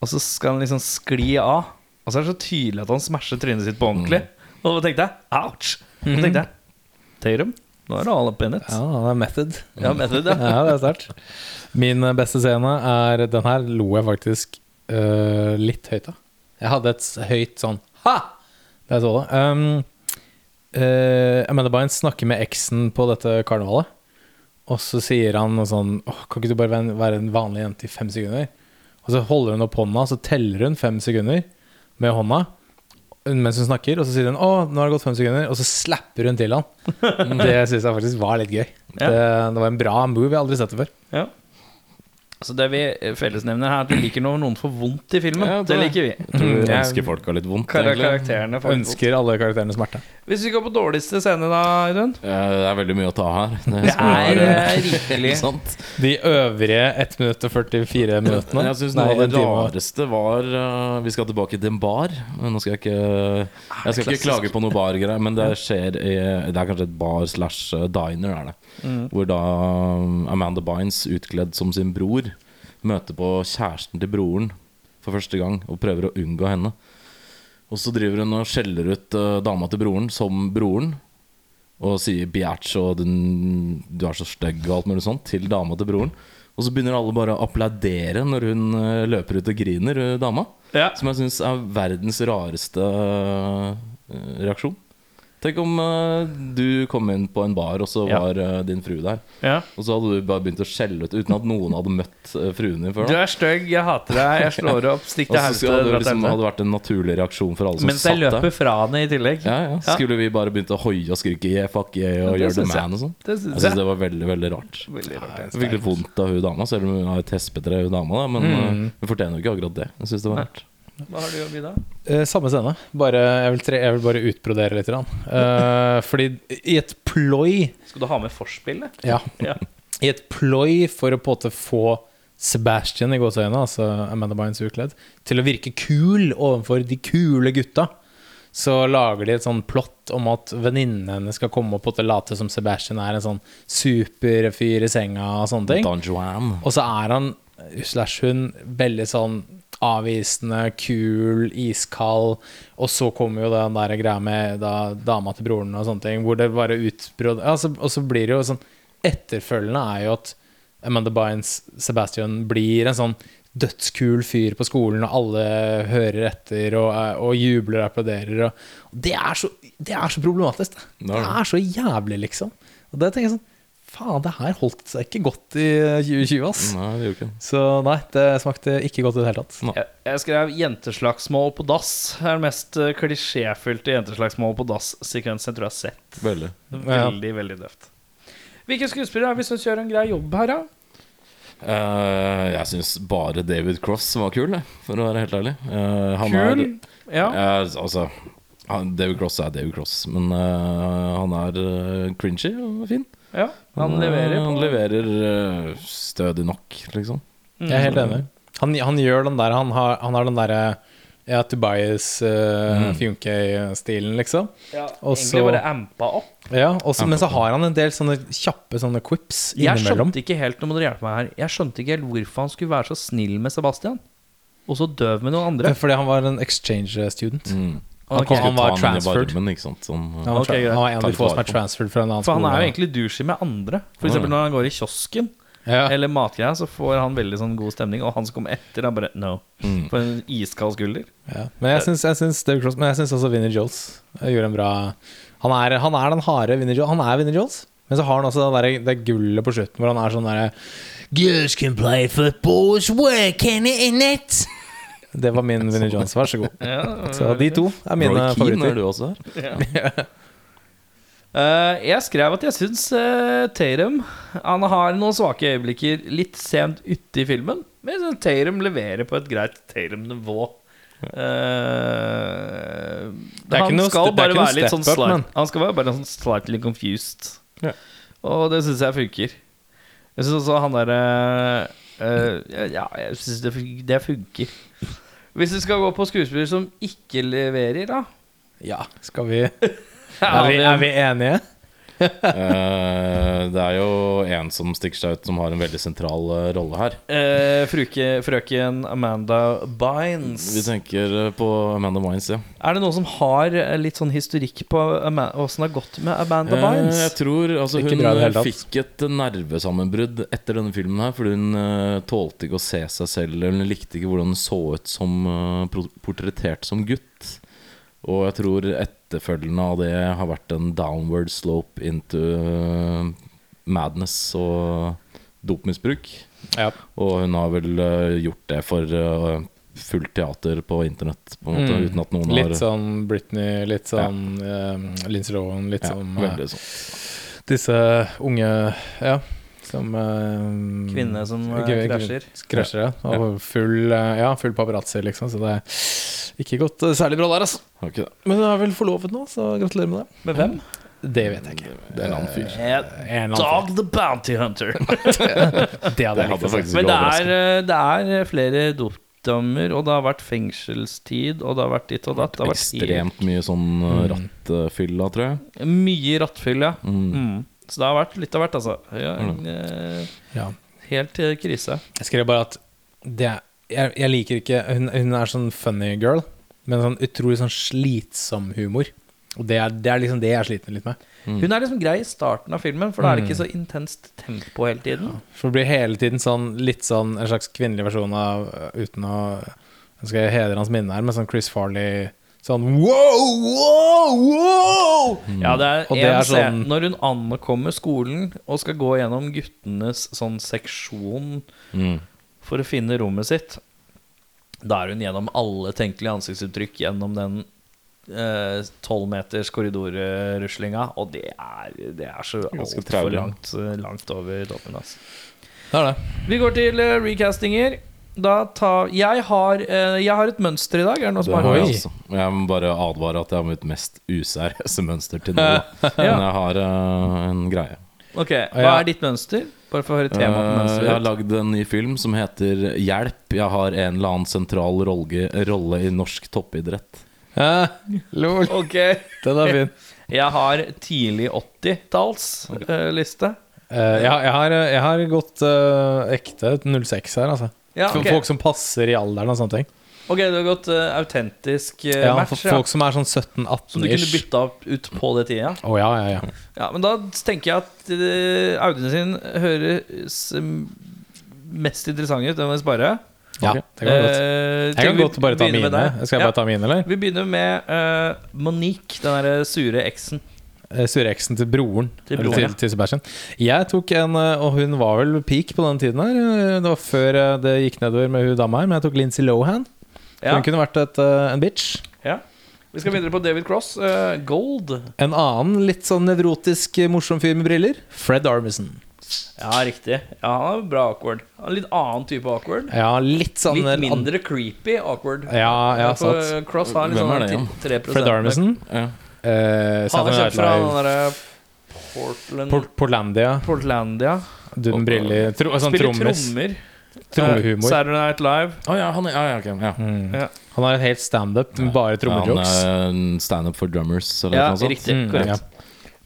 S1: Og så skal han liksom skli av. Og så er det så tydelig at han smasher trynet sitt på ordentlig. Og da tenkte jeg ouch! Og da tenkte jeg Tatum, nå er du all up in it.
S4: Ja, det er method.
S1: Ja, med det, ja.
S4: (laughs) Ja, det er sterkt. Min eh, beste scene er Den her lo jeg faktisk øh, litt høyt av. Jeg hadde et s- høyt sånn ha! Da jeg så det. Um, øh, Amanda Bynes snakker med eksen på dette karnevalet. Og så sier han noe sånn Åh, Kan ikke du bare være en- være en vanlig jente i fem sekunder? Og så holder hun opp hånda, så teller hun fem sekunder med hånda mens hun snakker. Og så sier hun Å, nå har det gått fem sekunder. Og så slapper hun til han. (laughs) Det syns jeg faktisk var litt gøy.
S1: Ja.
S4: Det, det var en bra move. Jeg har aldri sett det før.
S1: ja. Så det vi eh, fellesnevner her, er at vi liker når noen får vondt i filmen.
S3: Ja, det-
S1: det, liker vi.
S3: Jeg tror vi
S4: Mm, jeg-
S3: ønsker folk har litt vondt,
S1: (laughs) Kar
S3: egentlig.
S1: karakterene får vondt.
S4: Ønsker alle karakterene smerte.
S1: Hvis vi går på dårligste scene, da, Audun?
S3: Eh, Det er veldig mye å ta her.
S1: Det er eh,
S3: Ikke
S1: (laughs) rikelig.
S3: (laughs) sant?
S4: De øvrige 1 minutt og (laughs) 44 minuttene
S3: Jeg syns
S4: Nei,
S3: noe av det
S4: en time og-
S3: rareste var eh, Vi skal tilbake til en bar. Men Nå skal jeg ikke Jeg skal ikke klage på noe bargreier, men det skjer i Det er kanskje et bar slash eh, diner, er det. Hvor da um, Amanda Bynes, utkledd som sin bror, møter på kjæresten til broren for første gang og prøver å unngå henne. Og så driver hun og skjeller ut eh, dama til broren som broren. Og sier 'bjætsj' og den, 'du er så stygg' og alt mulig sånt til dama til broren. Og så begynner alle bare å applaudere når hun eh, løper ut og griner, eh, dama.
S1: Ja.
S3: Som jeg syns er verdens rareste eh, reaksjon. Tenk om eh, du kom inn på en bar, og så
S1: Ja.
S3: var eh, din frue der.
S1: Ja.
S3: Og så hadde du bare begynt å skjelle ut uten at noen hadde møtt eh, fruen din før.
S1: Du
S3: Da.
S1: er stygg, jeg hater deg, jeg slår deg opp, stikk
S3: Og
S1: til
S3: så
S1: helvete.
S3: skulle-
S1: dra
S3: hadde det
S1: til
S3: liksom,
S1: helvete.
S3: hadde vært en naturlig reaksjon for alle som
S1: Mens jeg
S3: satt
S1: løper
S3: der.
S1: fra henne i tillegg.
S3: Ja, ja. Skulle vi bare begynt å hoie og skrike 'yeah, fuck yeah'
S1: Ja,
S3: og
S1: det
S3: 'you're the
S1: synes jeg.
S3: man' og sånn?
S1: Det syns
S3: Jeg syns
S1: jeg.
S3: det var veldig, veldig rart.
S1: Veldig rart. altså.
S3: Jeg fikk litt vondt av hun dama, selv om hun har et hespetre, hun dama, da. Men
S4: Mm.
S3: eh, hun fortjener jo ikke akkurat det. Jeg syns det var rart.
S1: Hva har du å by da?
S4: Eh, samme scene. Bare, jeg, vil tre, jeg vil bare utbrodere
S3: (laughs)
S4: litt. grann. Eh, fordi i et ploi
S1: Skal du ha med forspillet?
S4: Ja.
S1: Ja.
S4: I et ploi for å på en måte få Sebastian i gåseøynene, altså Amanda Bynes ukledd, til å virke kul overfor de kule gutta, så lager de et sånn plott om at venninnen hennes skal komme opp og på en måte late som Sebastian er en sånn superfyr i senga og sånne ting.
S3: Don Juan.
S4: Og så er han eh, slash hun veldig sånn avvisende, kul, iskald. Og så kommer jo den der greia med da, dama til broren og sånne ting, hvor det bare utbrudd altså, Og så blir det jo sånn Etterfølgende er jo at Amanda Bynes, Sebastian, blir en sånn dødskul fyr på skolen, og alle hører etter og, er- og jubler og applauderer. Og, og det, er så, det er så problematisk. Det.
S3: Det er
S4: det
S3: det.
S4: er så jævlig, liksom. Og det tenker jeg sånn Faen, det her holdt seg ikke godt i 2020, ass.
S3: Nei, det gjorde ikke det.
S4: Så nei, det smakte ikke godt i det hele tatt.
S3: Nei.
S1: Jeg, jeg skrev 'jenteslagsmål på dass'. Det er den mest eh, klisjéfylte jenteslagsmål på dass-sekvensen jeg tror jeg har sett.
S3: Veldig.
S4: Ja.
S1: Veldig, veldig døvt. Hvilke skuespillere er vi syns gjør en grei jobb her, da?
S3: Eh, jeg syns bare David Cross var kul, jeg, for å være helt ærlig. Eh, han
S1: Kul?
S3: Er,
S1: Ja.
S3: Eh, altså han, David Cross er David Cross, men eh, han er eh, cringy og fin. Eh,
S1: ja. Han leverer.
S3: Han
S1: på-
S3: leverer eh, stødig nok, liksom.
S4: Jeg er helt enig. Han, han gjør den der Han har, han har den derre Ja, Tobias
S1: Mm.
S4: uh, Fjunkøy-stilen, liksom.
S1: Ja,
S4: Og
S1: egentlig
S4: så-
S1: bare ampa opp.
S4: Ja, også, Men så har han en del sånne kjappe sånne quips
S1: Jeg
S4: innimellom.
S1: skjønte ikke helt nå må dere hjelpe meg her Jeg skjønte ikke helt hvorfor han skulle være så snill med Sebastian, og så døv med noen andre.
S4: Eh, Fordi han var en exchange student. Han,
S1: Ok.
S4: kom, han
S3: Ta
S4: var
S3: han i
S4: transferred.
S3: varmen, ikke sant. Sånn,
S4: Han var,
S1: Mm. Ok,
S4: tra
S1: greit.
S4: han var en av
S3: Ta
S4: de
S3: litt
S4: få som
S3: vare
S4: er
S3: på.
S4: transferred fra en annen
S1: For han
S4: skole.
S1: er jo egentlig douchey med andre. For eksempel når han går i kiosken
S4: ja.
S1: eller matgreier, så får han veldig sånn god stemning, og han som kommer etter, han bare No.
S4: Mm.
S1: For en iskald skulder.
S4: Ja. Men jeg syns, jeg syns Dave Cross Men jeg syns også Vinnie Joles gjorde en bra Han er, han er den harde Vinnie Joles. Han er Vinnie Joles. Men så har han også det, der, det gullet på slutten hvor han er sånn derre Girls can play football, it's work in it, in it. Det var min Vinnie Jones, vær så god. (laughs) Så de to er mine
S3: Roy Keane er
S4: favoritter.
S3: du også her.
S1: Eh, jeg skrev at jeg syns uh, Tatum Han har noen svake øyeblikker litt sent ute i filmen, men jeg synes Tatum leverer på et greit Tatum-nivå. Eh,
S4: Det er ikke
S1: han
S4: noe-
S1: skal
S4: det er
S1: bare
S4: ikke noe
S1: være litt
S4: step
S1: sånn
S4: up, men-
S1: slight, Han skal være bare sånn slightly confused.
S4: Ja.
S1: Og det syns jeg funker. Jeg syns også han derre eh, Ja, jeg syns det, fun- det funker. Hvis vi skal gå på skuespillere som ikke leverer, da
S4: Ja, skal
S3: (laughs)
S4: vi er, vi er vi enige?
S3: Eh, det er jo en som stikker seg ut, som har en veldig sentral eh, rolle her.
S1: Eh, fruke, frøken Amanda
S3: Vi
S1: Bynes.
S3: tenker eh, på Amanda Mines, ja.
S1: Er det noen som har eh, litt sånn historikk på Ama- åssen det har gått med Amanda
S3: Eh, Jeg
S1: Bynes?
S3: tror altså,
S4: Ikke
S3: Hun
S4: bra i det hele tatt.
S3: fikk et nervesammenbrudd etter denne filmen her Fordi hun eh, tålte ikke å se seg selv eller Hun likte ikke hvordan hun så ut som eh, pro- portrettert som gutt Og jeg tror etterfølgende av det har vært en downward slope into eh, madness og dopmisbruk
S4: Ja.
S3: Og hun har vel eh, gjort det for eh, fullt teater på internett på en måte,
S4: Mm.
S3: Uten at noen
S4: Litt
S3: har
S4: sånn Britney, litt sånn eh, Lindsay Lohan, litt
S3: ja,
S4: sånn eh,
S3: veldig sånn
S4: disse unge Ja, som eh,
S1: Kvinne som eh,
S4: Kvinne-
S1: krasjer.
S4: Krasjer, ja. Og full, eh, ja, full paparazzi, liksom. Så det er ikke gått eh, særlig bra der, altså.
S3: Har ikke det
S4: Men du er vel forlovet nå, så gratulerer med det.
S1: Med hvem?
S4: Det vet jeg ikke.
S3: Det er en annen fyr
S1: Eh,
S4: En eller annen
S1: Dog the Bounty
S3: (laughs)
S1: Hunter.
S4: fyr. Det hadde
S3: Det
S4: jeg likt
S3: hadde
S4: å se.
S3: faktisk
S1: Men
S3: ikke
S1: det
S3: overrasket.
S1: er, eh, det er flere dopdommer, og det har vært fengselstid, og det har vært ditt og datt. Det har vært Mm.
S3: Ekstremt mye sånn uh, rattfylla, tror jeg.
S1: mye rattfyll, ja.
S3: Mm.
S1: Mm. Så det har vært litt av hvert, altså. Ja, eh,
S4: Ja.
S1: helt eh, krise.
S4: Jeg skrev bare at det, jeg, jeg liker ikke hun, hun er sånn funny girl, men sånn utrolig sånn slitsom humor. Og det er, det er liksom det jeg sliter litt med.
S3: Mm.
S1: Hun er liksom grei i starten av filmen, for da er det ikke så intenst tempo hele tiden.
S4: For det blir hele tiden sånn litt sånn en slags kvinnelig versjon av øh, Uten å Nå skal jeg hedre hans minne her, men sånn Chris Farley Sånn wow, wow, wow!
S3: Mm.
S1: Ja, det er,
S4: Og det
S1: en
S4: er
S1: scene
S4: sånn-
S1: Når hun ankommer skolen og skal gå gjennom guttenes sånn seksjon
S3: Mm.
S1: for å finne rommet sitt, da er hun gjennom alle tenkelige ansiktsuttrykk gjennom den eh, tolv meters korridorruslinga, og det er, det er så
S3: Ganske
S1: altfor
S3: traurig.
S1: langt, eh, langt over toppen. Altså.
S4: Det er det.
S1: Vi går til eh, recastinger. Da tar jeg har, eh, jeg har et mønster i dag. Er det noen
S3: Det
S1: som
S3: har
S1: har
S4: Oi.
S3: jeg, altså. jeg må bare advare at jeg har mitt mest useriøse mønster til nå.
S1: (laughs)
S3: da. Men jeg har eh, en greie.
S1: Ok, Hva
S4: Ja.
S1: er ditt mønster? Bare for å høre
S3: Eh,
S1: temaet på
S3: jeg
S1: mønsteret.
S3: har lagd en ny film som heter 'Hjelp, jeg har en eller annen sentral rolle, rolle i norsk toppidrett'.
S4: Ja, (laughs) lol.
S1: Ok
S4: Den er fin.
S1: Jeg har tidlig 80-talls-liste.
S4: Eh, jeg, har- jeg, har, jeg har gått eh, ekte 06 her, altså.
S1: Ja, ok.
S4: Folk som passer i alderen og sånne ting.
S1: Ok, du har gått eh, autentisk eh,
S4: Ja,
S1: match.
S4: for
S1: Ja.
S4: folk som er sånn
S1: Som du kunne
S4: 17-18-ish.
S1: bytta opp ut på det tida.
S4: Å ja, ja, ja.
S1: Ja, men da tenker jeg at uh, Audien sin høres eh, mest interessant ut. Den må vi spare.
S4: ja
S3: Ok.
S4: det kan godt.
S1: Eh,
S4: Jeg kan
S1: tenker vi
S4: godt bare ta
S1: begynner
S4: mine.
S1: med deg.
S4: Skal jeg
S1: Ja.
S4: bare ta mine, eller?
S1: Vi begynner med eh, Monique, den derre sure eksen.
S4: Eh, Surreeksen til broren.
S1: Til
S4: Til,
S1: broren,
S4: til,
S1: ja.
S4: til Sebastian. Jeg tok en eh, Og hun var vel peak på den tiden her. eh, Det var før eh, det gikk nedover med hun dama her, men jeg tok Lincy Lohan. For
S1: Ja,
S4: Hun kunne vært et, eh, en bitch.
S1: ja. Vi skal videre på David Cross. eh, Gold.
S4: En annen litt sånn nevrotisk eh, morsom fyr med briller, Fred Armisen.
S1: Ja, riktig. Ja, han er bra awkward. Han er Litt annen type awkward.
S4: Ja, litt sånn
S1: Litt
S4: eh,
S1: mindre creepy awkward.
S4: Ja, ja,
S1: For
S4: sant.
S1: Cross har liksom
S3: Hvem er det igjen?
S1: 3
S4: Fred Armisen.
S3: Ja.
S1: Han
S4: Eh,
S1: er
S4: Saturday
S1: kjent
S4: Night
S1: fra den
S4: Live.
S1: derre Portland
S4: Port Portlandia.
S1: Portlandia.
S4: Duden Briller. Tro, sånn
S1: Spiller
S4: trommis.
S1: trommer. Eh,
S4: Trommehumor.
S1: Saturday Night Live.
S3: Å ja, han er, ja, ja, ok, ja.
S4: Mm.
S1: Ja.
S4: Han har en helt standup med
S3: Han
S4: bare
S3: eh,
S4: trommejokes.
S3: er en standup for drummers eller
S1: Ja,
S3: noe sånt.
S1: riktig.
S4: Mm,
S1: Korrekt.
S4: ja.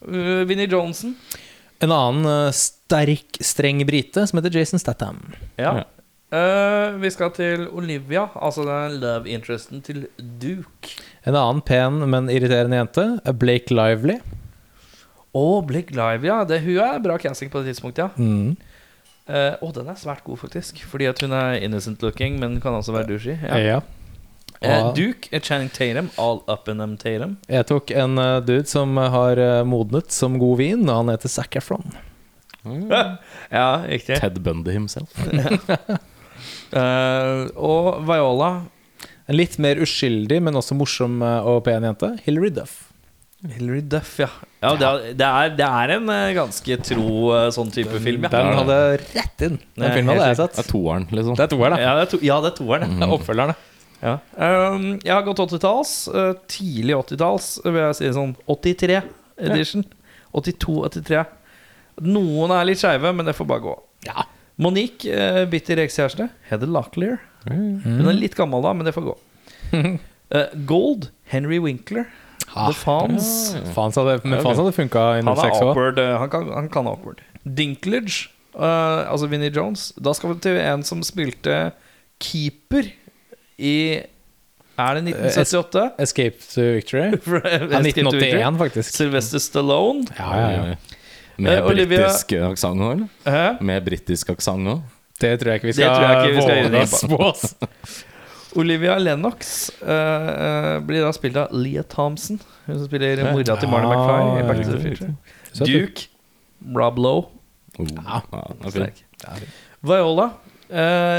S1: Uh, Vinnie Johnson.
S4: En annen eh, sterk, streng brite som heter Jason Statham.
S1: Ja.
S3: Ja.
S1: Eh, vi skal til Olivia, altså den love interesten til Duke.
S4: En annen pen, men irriterende jente er Blake Lively.
S1: Og Blake Live, ja. Det, hun er bra casting på det tidspunktet, ja.
S4: Mm.
S1: Eh, og den er svært god, faktisk. Fordi at hun er innocent looking, men kan også være douchey. Ja.
S4: Ja.
S1: Eh,
S4: Og
S1: Duke, eh, Channing Tatum, all up in them Tatum.
S4: jeg tok en eh, dude som har eh, modnet som god vin, og han heter Zac Efron.
S1: Ja, riktig.
S3: Ted Bundy himself.
S1: Eh, og Viola
S4: En litt mer uskyldig, men også morsom eh, og pen jente. Hilary Duff.
S1: Hilary Duff, ja. ja det, er, det, er, det er en eh, ganske tro eh, sånn type film. Ja.
S4: Den hadde rett inn. Den
S1: Nei,
S4: filmen
S1: helt
S4: hadde jeg
S3: Det er
S4: sett.
S3: toeren, liksom.
S4: Det er toeren, da. Mhm.
S1: Ja, det er, to, ja, det er toeren.
S4: Det er Oppfølgeren, da.
S1: Ja. Um, jeg har gått 80-talls. eh, tidlig 80-talls, vil jeg si. Sånn 83 edition. 82-83. Noen er litt skeive, men det får bare gå.
S4: Ja.
S1: Monique, eh, bitter ekskjæreste. Heather Locklear.
S4: Mhm.
S1: Hun er litt gammel da, men det får
S4: (laughs)
S1: gå. Eh, Gold, Henry Winkler.
S4: Ah,
S1: The Fans.
S4: Faen, så hadde, men faen så hadde det funka i
S1: Han er
S4: 06 òg.
S1: awkward. eh, Han kan, han kan awkward. Dinklage, eh, altså Vinnie Jones. Da skal vi til en som spilte keeper i Er det (laughs) 1978?
S4: Escape to Victory.
S1: Fra
S4: Ja,
S1: Escape to Victory.
S4: 1981, faktisk.
S1: Sylvester Stallone.
S4: Ja, ja, ja.
S3: Med
S1: Eh, Olivia-
S3: britisk aksent òg, eller?
S1: Hæ?
S3: Med britisk aksent òg.
S4: Det tror jeg ikke vi
S1: Det tror jeg
S4: skal
S1: ikke vi skal gi
S4: våge
S1: den
S4: oss
S1: på.
S4: på. ass.
S1: Olivia Lennox eh, eh, blir da spilt av Leah Thompson. Hun som spiller mora til Marnie
S4: Ah,
S1: McFly i Back to the
S4: riktig,
S1: Future.
S4: Søt, du.
S1: Duke. Rob Lowe.
S3: Oh. Ja, det er fint.
S1: Sterk. Viola.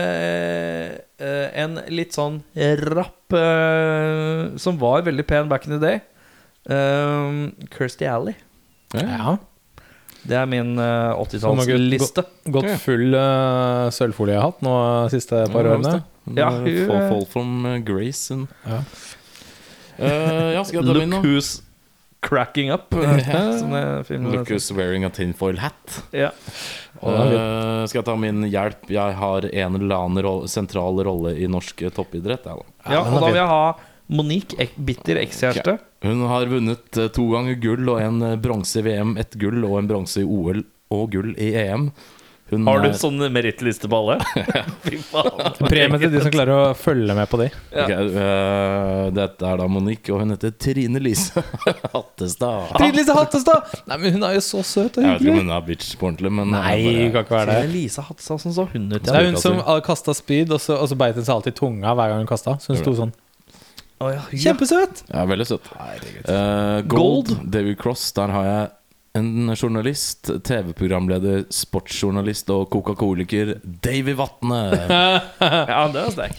S1: eh, eh, en litt sånn rapp eh, som var veldig pen back in the day. Um, Kirsty Alley.
S4: Ja.
S1: Det er min eh,
S4: Så må gutten gå-
S1: 80-tallsliste.
S4: Gått full uh, sølvfoliehatt nå eh, siste par
S3: Ja,
S4: årene.
S1: Ja,
S3: Fall,
S1: hun-
S3: fall from eh, grace and
S4: Ja.
S3: Eh, ja, skal jeg ta min nå?
S1: Look who's cracking (laughs) up. eh, som det filmen
S3: Look who's wearing a tinfoil hat.
S1: Ja.
S3: Eh, skal jeg ta min hjelp? Jeg har en eller annen roll, sentral rolle i norsk eh, toppidrett. Jeg, da.
S1: ja, og da vil jeg ha Monique, ek, bitter ekskjæreste.
S3: Hun har vunnet eh, to ganger gull og en eh, bronse i VM, ett gull og en bronse i OL og gull i EM. Hun
S1: Har du
S3: er-
S1: sånn merittliste på alle?
S4: (laughs)
S1: Fy faen.
S4: Premie til de som klarer å følge med på de.
S1: Ja.
S3: Ok, eh, Dette er da Monique, og hun heter Trine Lise (laughs) Hattestad.
S4: Trine-Lise Hattestad! Nei, men hun er jo så søt
S3: Jeg vet
S4: og
S3: ikke om
S4: hyggelig.
S3: hun er bitch på ordentlig, men
S4: Nei,
S3: jeg
S4: hun kan ikke være
S1: Det
S4: det.
S1: er Lisa Hatsa som så hun ut.
S4: Det
S1: Ja.
S4: er hun som kasta spyd, og så, og så beit hun seg alltid i tunga hver gang hun kasta. Så hun sto sånn
S1: Å, ja, hun, ja.
S4: Kjempesøt!
S3: Ja, veldig søt. Eh, Gold, David Cross, der har jeg en journalist, TV-programleder, sportsjournalist og Coca-Coliker, Davy Vatne.
S1: ja, det er sterk.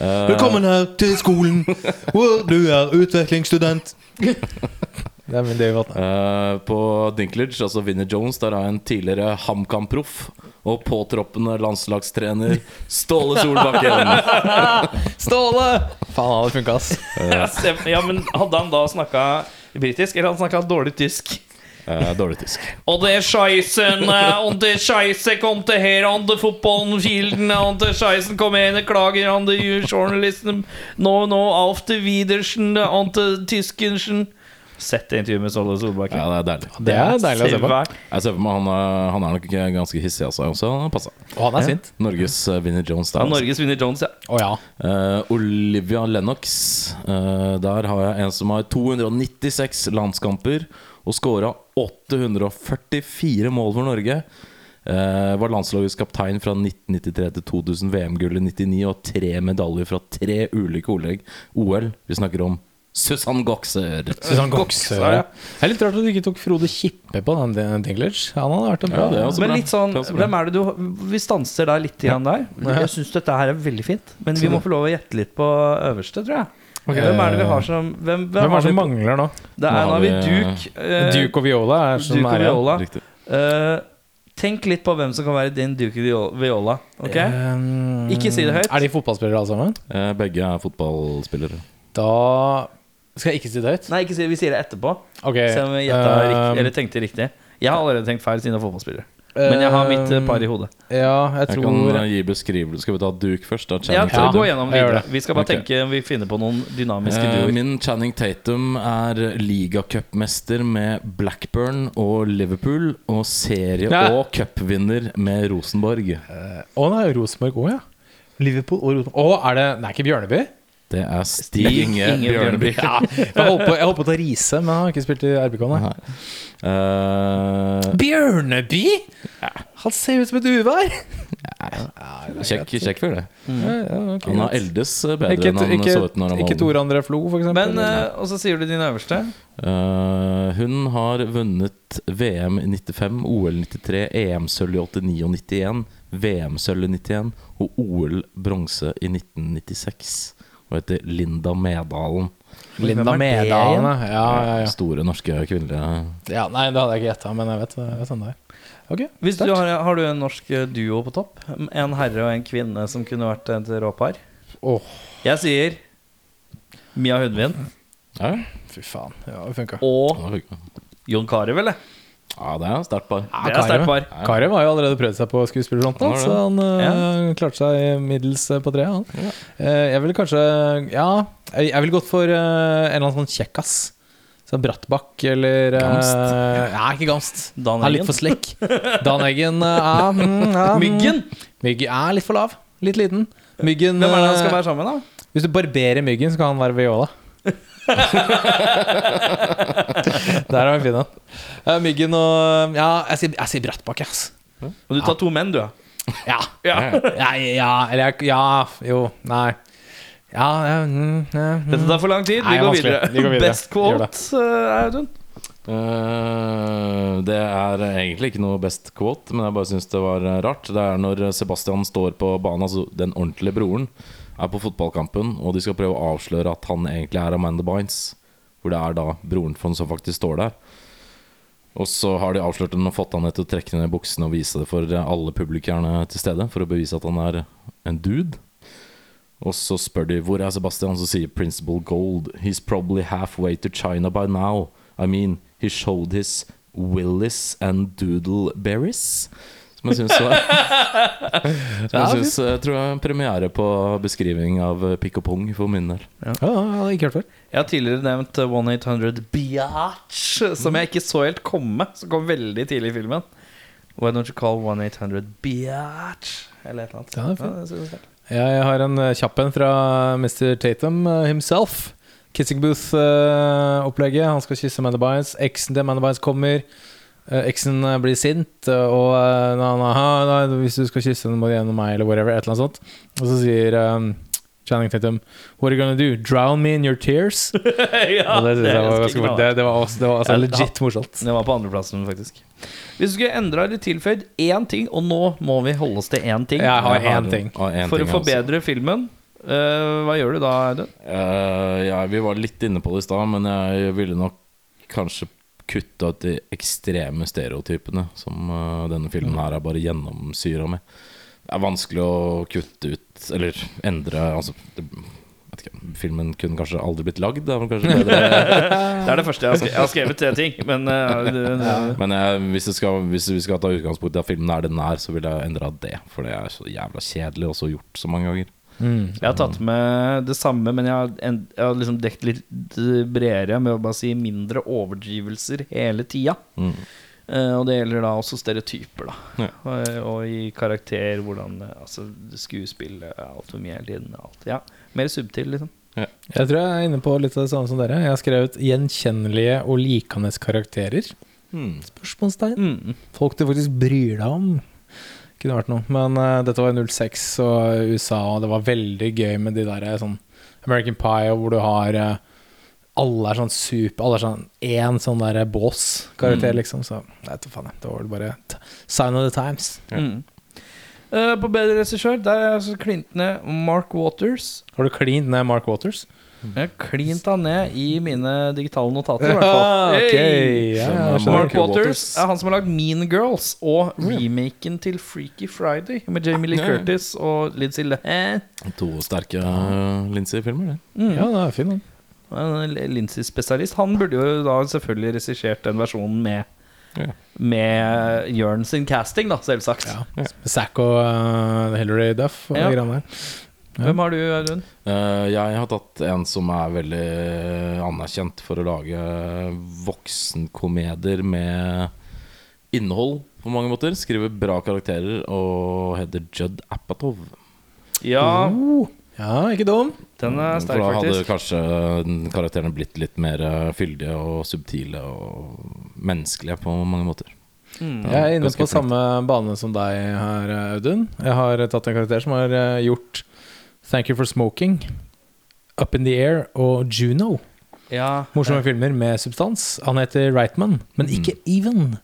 S5: Velkommen her til skolen, hvor du er utvekslingsstudent.
S4: Det er min David Vatne.
S3: Eh, på Dinklage, altså Vinnie Jones, der har jeg en tidligere HamKam-proff og påtroppende landslagstrener Ståle Solbakken.
S4: Ståle! Faen, hadde funka, ass.
S1: (laughs) Ja, stem- ja, men hadde han da snakka britisk, eller han snakka dårlig tysk?
S3: Eh, dårlig tysk.
S1: Og det er Scheisen, eh, og det er Scheisse kom til her, og det er fotballen Fielden, og det er Scheisen kom igjen og klager, og det er journalisten nå, nå, Alf de Widersen, og det er Tyskensen. Sett det intervjuet med Ståle Solbakken.
S3: Ja, det er deilig.
S4: Det er deilig å se på.
S1: Svært.
S3: Jeg ser for meg han, er- han er nok ikke ganske hissig av seg også. Han har passet.
S4: Og han er sint.
S3: Norges eh, Vinnie Jones der.
S1: Ja,
S3: altså.
S1: Norges vinner Jones, ja.
S4: Å ja.
S3: Eh, Olivia Lennox. Eh, der har jeg en som har 296 landskamper og scora 844 mål for Norge. Eh, var landslagets kaptein fra 1993 til 2000, VM-gull i 99 og tre medaljer fra tre ulike OL. OL. Vi snakker om Susann Goxer.
S4: Susann Goksøre. Det er litt rart at du ikke tok Frode Kippe på den Dinglage. Han hadde vært en bra
S3: Ja, det er også
S1: Men
S3: bra.
S1: litt sånn,
S3: Det er også bra.
S1: hvem er det du Vi stanser deg litt igjen der. Jeg syns dette her er veldig fint, men vi må få lov å gjette litt på øverste, tror jeg. Hvem er det vi har som Hvem, hvem
S4: Hvem er
S1: har
S4: det som
S1: vi-
S4: mangler nå?
S1: Det er,
S3: Nå
S1: nå
S3: har
S1: har vi
S3: vi,
S1: Duke. eh,
S4: Duke og Viola er som
S1: Duke og
S4: er igjen.
S1: Viola.
S3: Riktig.
S1: Eh, tenk litt på hvem som kan være din Duke Vio- Viola. Ok?
S4: Um,
S1: Ikke si det høyt.
S4: Er de fotballspillere alle sammen?
S3: Eh, begge er fotballspillere.
S4: Da skal jeg ikke si det høyt.
S1: Nei, ikke si, vi sier det etterpå.
S4: Ok,
S1: Se om vi gjetta
S4: eh,
S1: riktig, eller tenkte riktig. Jeg har allerede tenkt feil siden jeg er fotballspiller. Men jeg har mitt eh, par i hodet.
S4: Ja, jeg
S3: Jeg
S4: tror
S3: kan eh, gi beskrivelse. Skal vi ta Duke først? Da?
S1: Ja,
S3: Channing
S1: ta,
S3: Tatum.
S1: gå gjennom
S4: jeg gjør
S1: videre.
S4: det.
S1: Vi skal bare
S3: Ok.
S1: tenke om vi finner på noen dynamiske
S3: Eh,
S1: duoer.
S3: Min Channing Tatum er ligacupmester med Blackburn og Liverpool. Og serie-
S4: Ja.
S3: og cupvinner med Rosenborg.
S4: Å nei, Rosenborg òg, ja. Liverpool og Rosenborg. Å, er det Det er ikke Bjørneby?
S3: Det er Stig Inge
S1: Inge
S3: Bjørneby.
S4: Ja, jeg holdt på, jeg holdt på å ta Riise, men han har ikke spilt i RBK, nei.
S3: Nei. (laughs) Eh,
S4: Bjørneby?! Han ser ut som et uvær!
S3: Sjekk sjekk for det.
S4: Ja, ok,
S3: Mm. Han er
S4: greit.
S3: eldes bedre
S4: Ikke,
S3: enn han
S4: ikke,
S3: så ut når han
S4: ikke
S3: var ung.
S4: Tor André Flo, for eksempel.
S1: Men, eh, og så sier du din øverste.
S3: Eh, hun har vunnet VM i 95, OL 93, EM-sølv i 89 og 91, VM-sølv i 91 og OL-bronse i 1996. Og heter Linda Medalen.
S4: Linda
S1: Hvem er det
S4: Medalen, ja. ja, ja,
S3: Store norske kvinnelige
S4: ja. ja. Nei, det hadde jeg ikke gjetta, men jeg vet, jeg vet hvem det er. Ok,
S1: Hvis du
S4: sterkt.
S1: har, har du en norsk eh, duo på topp? En herre og en kvinne som kunne vært et råpar?
S4: Åh,
S1: Jeg sier Mia Hundvin
S3: Ja,
S4: fy faen. Ja, det funka.
S1: og
S3: ja,
S1: Jon Carew, eller?
S3: det er sterkt par.
S1: Det er sterkt par.
S4: Karev har jo allerede prøvd seg på skuespillerfronten,
S3: Han har det.
S4: så han eh,
S1: Ja.
S4: klarte seg middels eh, på treet. Han. Eh, jeg ville kanskje Ja, jeg, jeg ville gått for eh, en eller annen sånn kjekkas. Så Brattbakk eller eh,
S3: Gamst.
S4: Nei, ikke Gamst.
S1: Dan
S4: Han er litt
S1: Eggen.
S4: for slekk. Dan Eggen eh, er, mm, er, mm.
S1: (laughs) Myggen!
S4: Mygg er litt for lav. Litt liten. Myggen
S1: Hvem er det han
S4: eh,
S1: skal være sammen med, da?
S4: Hvis du barberer myggen, så kan han være Viola. Der har vi fin en. Eh, Myggen og Ja, jeg sier, jeg sier Brattbakk, ass.
S1: Og du tar to menn, du, ja.
S4: Ja. Nei, ja, eller jeg Ja, jo, nei. Ja, ja, mm, ja mm.
S1: Dette tar for lang tid. Vi
S4: Nei,
S1: går
S4: vanskelig.
S1: videre.
S4: Vi går videre.
S1: Best quote, eh, Audun.
S3: Eh, det er egentlig ikke noe best quote, men jeg bare syns det var eh, rart. Det er når Sebastian står på banen, altså den ordentlige broren, er på fotballkampen, og de skal prøve å avsløre at han egentlig er Amanda Bynes. Hvor det er da broren for han som faktisk står der. Og så har de avslørt den og fått han ned til å trekke ned buksene og vise det for alle publikerne til stede, for å bevise at han er en dude. Og så spør de hvor er Sebastian, så sier Principal Gold He's probably halfway to China by now. I mean, he showed his willis and doodleberries. Som jeg syns var (laughs) Som jeg synes, jeg tror jeg er en premiere på beskriving av eh, pikk og pung for min del.
S4: Ja, ja, jeg hadde ikke hørt før.
S1: Jeg har tidligere nevnt eh, 1800 Biatch, som jeg ikke så helt komme. Som kom veldig tidlig i filmen. Why don't you call 1800 Biatch? Eller et eller annet.
S4: Ja, det er fint.
S1: det synes
S4: (laughs)
S1: jeg.
S4: Jeg har en eh, kjapp en fra Mr. Tatum eh, himself. Kissing Booth-opplegget. Han skal kysse Amanda Bynes. Eksen til Amanda Bynes kommer. Eh, Eksen eh, blir sint, eh, og eh, na, na, ha, na, hvis du skal kysse henne, må du gjennom meg, eller whatever. Et eller annet sånt. Og så sier eh, Channing Tatum What are you gonna do? Drown me in your tears?
S1: ja,
S4: og det, synes jeg var, ganske,
S1: ganske
S4: mor- det, det var, også, det var altså,
S1: Ja,
S4: legit morsomt.
S1: Det var på andreplassen, faktisk. Hvis du skulle endra eller tilføyd én ting, og nå må vi holde oss til én ting
S4: Jeg har
S3: Jeg
S4: én ting.
S3: har en
S1: for
S3: ting,
S1: å
S3: altså.
S1: forbedre filmen, eh, hva gjør du da, Audun?
S3: Eh, ja, vi var litt inne på det i stad, men jeg ville nok kanskje kutta ut de ekstreme stereotypene som eh, denne filmen her er bare gjennomsyra med. Det er vanskelig å kutte ut eller endre Altså, det, vet ikke, filmen kunne kanskje aldri blitt lagd. Det er vel kanskje bedre.
S1: Det er det første jeg har skrevet. Jeg har skrevet tre ting, men (laughs) eh, det,
S3: Men jeg, hvis, det skal, hvis vi skal ta utgangspunkt i at filmen er den er, så ville jeg endra det. For det er så jævla kjedelig, og så gjort så mange ganger.
S4: Mm.
S1: jeg har tatt med det samme, men jeg har, en, jeg har liksom dekt litt bredere med å bare si mindre overdrivelser hele tida.
S3: Mm.
S1: Eh, og det gjelder da også stereotyper, da.
S3: Ja.
S1: Og, og i karakter, hvordan eh, Altså skuespill, eh, alt for mye hele tiden. Alt. Ja. Mer subtil, liksom.
S4: Jeg tror jeg er inne på litt av det samme som dere. Jeg har skrevet 'gjenkjennelige og likende karakterer'. Spørsmålstegn.
S1: Mm.
S4: Folk du faktisk bryr deg om. Kunne vært noe. Men eh, dette var i 06 og USA, og det var veldig gøy med de der eh, sånn American Pie, og hvor du har eh, Alle er sånn super Alle er sånn én sånn der bås-karakter,
S1: Mm.
S4: liksom. Så jeg vet da faen, jeg. Det var vel bare t sign of the times.
S1: Mm. Eh, på bedre regissør, der er altså klint ned Mark Waters.
S4: Har du klint ned Mark Waters?
S1: Jeg har klint han ned i mine digitale notater, i hvert
S4: (laughs) Ah,
S1: fall.
S4: ok,
S1: Hey!
S4: ja,
S3: Som, eh,
S4: ja,
S1: Mark
S3: Mark
S1: Waters
S3: Waters.
S1: er han som har lagd Mean Girls og remaken til Freaky Friday med Jamie Lee
S3: Ja, ja.
S1: Curtis og Lindsay Lohan. Mm.
S3: To sterke uh, Lindsay-filmer, det.
S4: ja, det er fin, den.
S1: Han er en Lindsay-spesialist. Han burde jo da selvfølgelig regissert den versjonen med
S3: Ja.
S1: Med Jørn sin casting, da, selvsagt.
S4: Zack og eh, Hilary Duff og
S1: Ja.
S4: de greiene der.
S1: Hvem har du, Audun?
S3: Eh, jeg har tatt en som er veldig eh, anerkjent for å lage eh, voksenkomedier med innhold på mange måter. Skriver bra karakterer og heter Judd Apatow.
S1: Ja,
S4: Oh. Ja, ikke dum.
S1: den er
S3: For
S1: sterk,
S3: da hadde
S1: faktisk.
S3: kanskje den karakterene blitt litt mer eh, fyldige og subtile og menneskelige på mange måter.
S1: Mm.
S3: Ja,
S4: Jeg er inne
S3: ganske
S4: på
S3: flink.
S4: samme bane som deg her, Audun. Jeg har tatt en karakter som har eh, gjort Thank You For Smoking, Up In The Air og Juno.
S1: Ja. eh,
S4: Morsomme filmer med substans. Han heter Reitman, men ikke Even.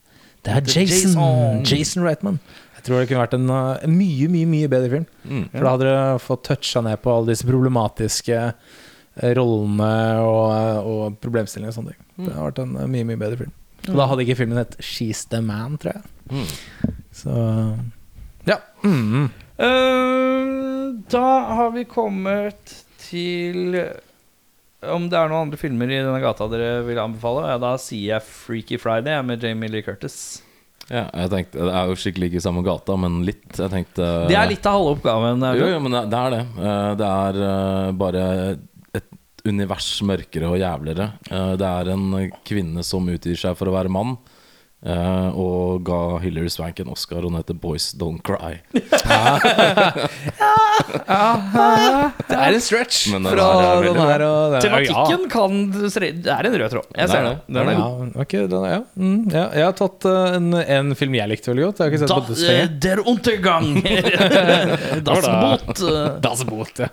S4: Det er
S1: Det er
S4: Jason.
S1: Jason.
S4: Jason Reitman. Jeg tror det kunne vært en eh, mye, mye mye bedre film.
S3: Mm.
S4: For da hadde dere fått toucha ned på alle disse problematiske eh, rollene og, eh, og problemstillingene og sånne ting. Det hadde vært en eh, mye, mye bedre film. Og da hadde ikke filmen hett She's the Man, tror jeg.
S3: Mm.
S4: Så ja. Mm.
S1: Ehm, da har vi kommet til Om det er noen andre filmer i denne gata dere vil anbefale? Ja, da sier jeg 'Freaky Friday' jeg, med Jamie Lee Curtis.
S3: Ja, jeg tenkte, Det er jo skikkelig ikke i samme gata, men litt. Jeg tenkte
S1: Det er litt av halve oppgaven. Audun.
S3: Jo, jo, men det, det er det. Eh, Det er eh, bare et univers mørkere og jævligere. Eh, Det er en kvinne som utgir seg for å være mann. eh, og ga Hilary Swank en Oscar, og hun heter Boys Don't Cry.
S4: Det er en stretch
S3: Men den
S4: fra
S3: her er veldig
S4: den her og den.
S1: Tematikken kan Det er en rød tråd. Jeg ser
S3: Det er
S1: det.
S3: det.
S1: Den er
S4: Ja,
S1: god.
S4: ok, den er, ja. Mm, ja. Jeg har tatt eh, en, en film jeg likte veldig godt. Jeg har ikke sett
S1: Da,
S4: på dødslenger.
S1: eh, der
S3: (laughs)
S1: Untergang! das Boot. eh.
S4: Das Boot, ja.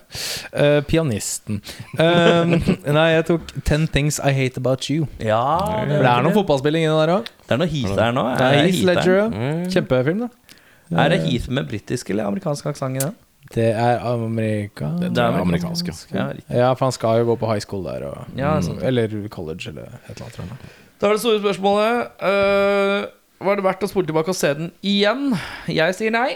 S4: Eh, pianisten. Eh, (laughs) nei, jeg tok Ten Things I Hate About You.
S1: Ja,
S4: For det er noe fotballspilling inni der òg.
S1: Det er noe Heath der nå.
S4: Det er Heath
S1: Heath der?
S4: Ledger, ja.
S1: Mm.
S3: Mm.
S4: Kjempefilm, da.
S1: Er det Heath med britisk eller amerikansk aksent i den?
S4: Det er Amerika
S1: Det er
S3: Det er amerikansk. ja.
S1: Ja, riktig.
S4: Ja, for han skal jo gå på high school der, og,
S1: Ja,
S4: Mm, eller college, eller et eller annet. tror jeg.
S1: Da er det store spørsmålet eh, Var det verdt å spole tilbake og se den igjen? Jeg sier
S4: (laughs)
S1: nei.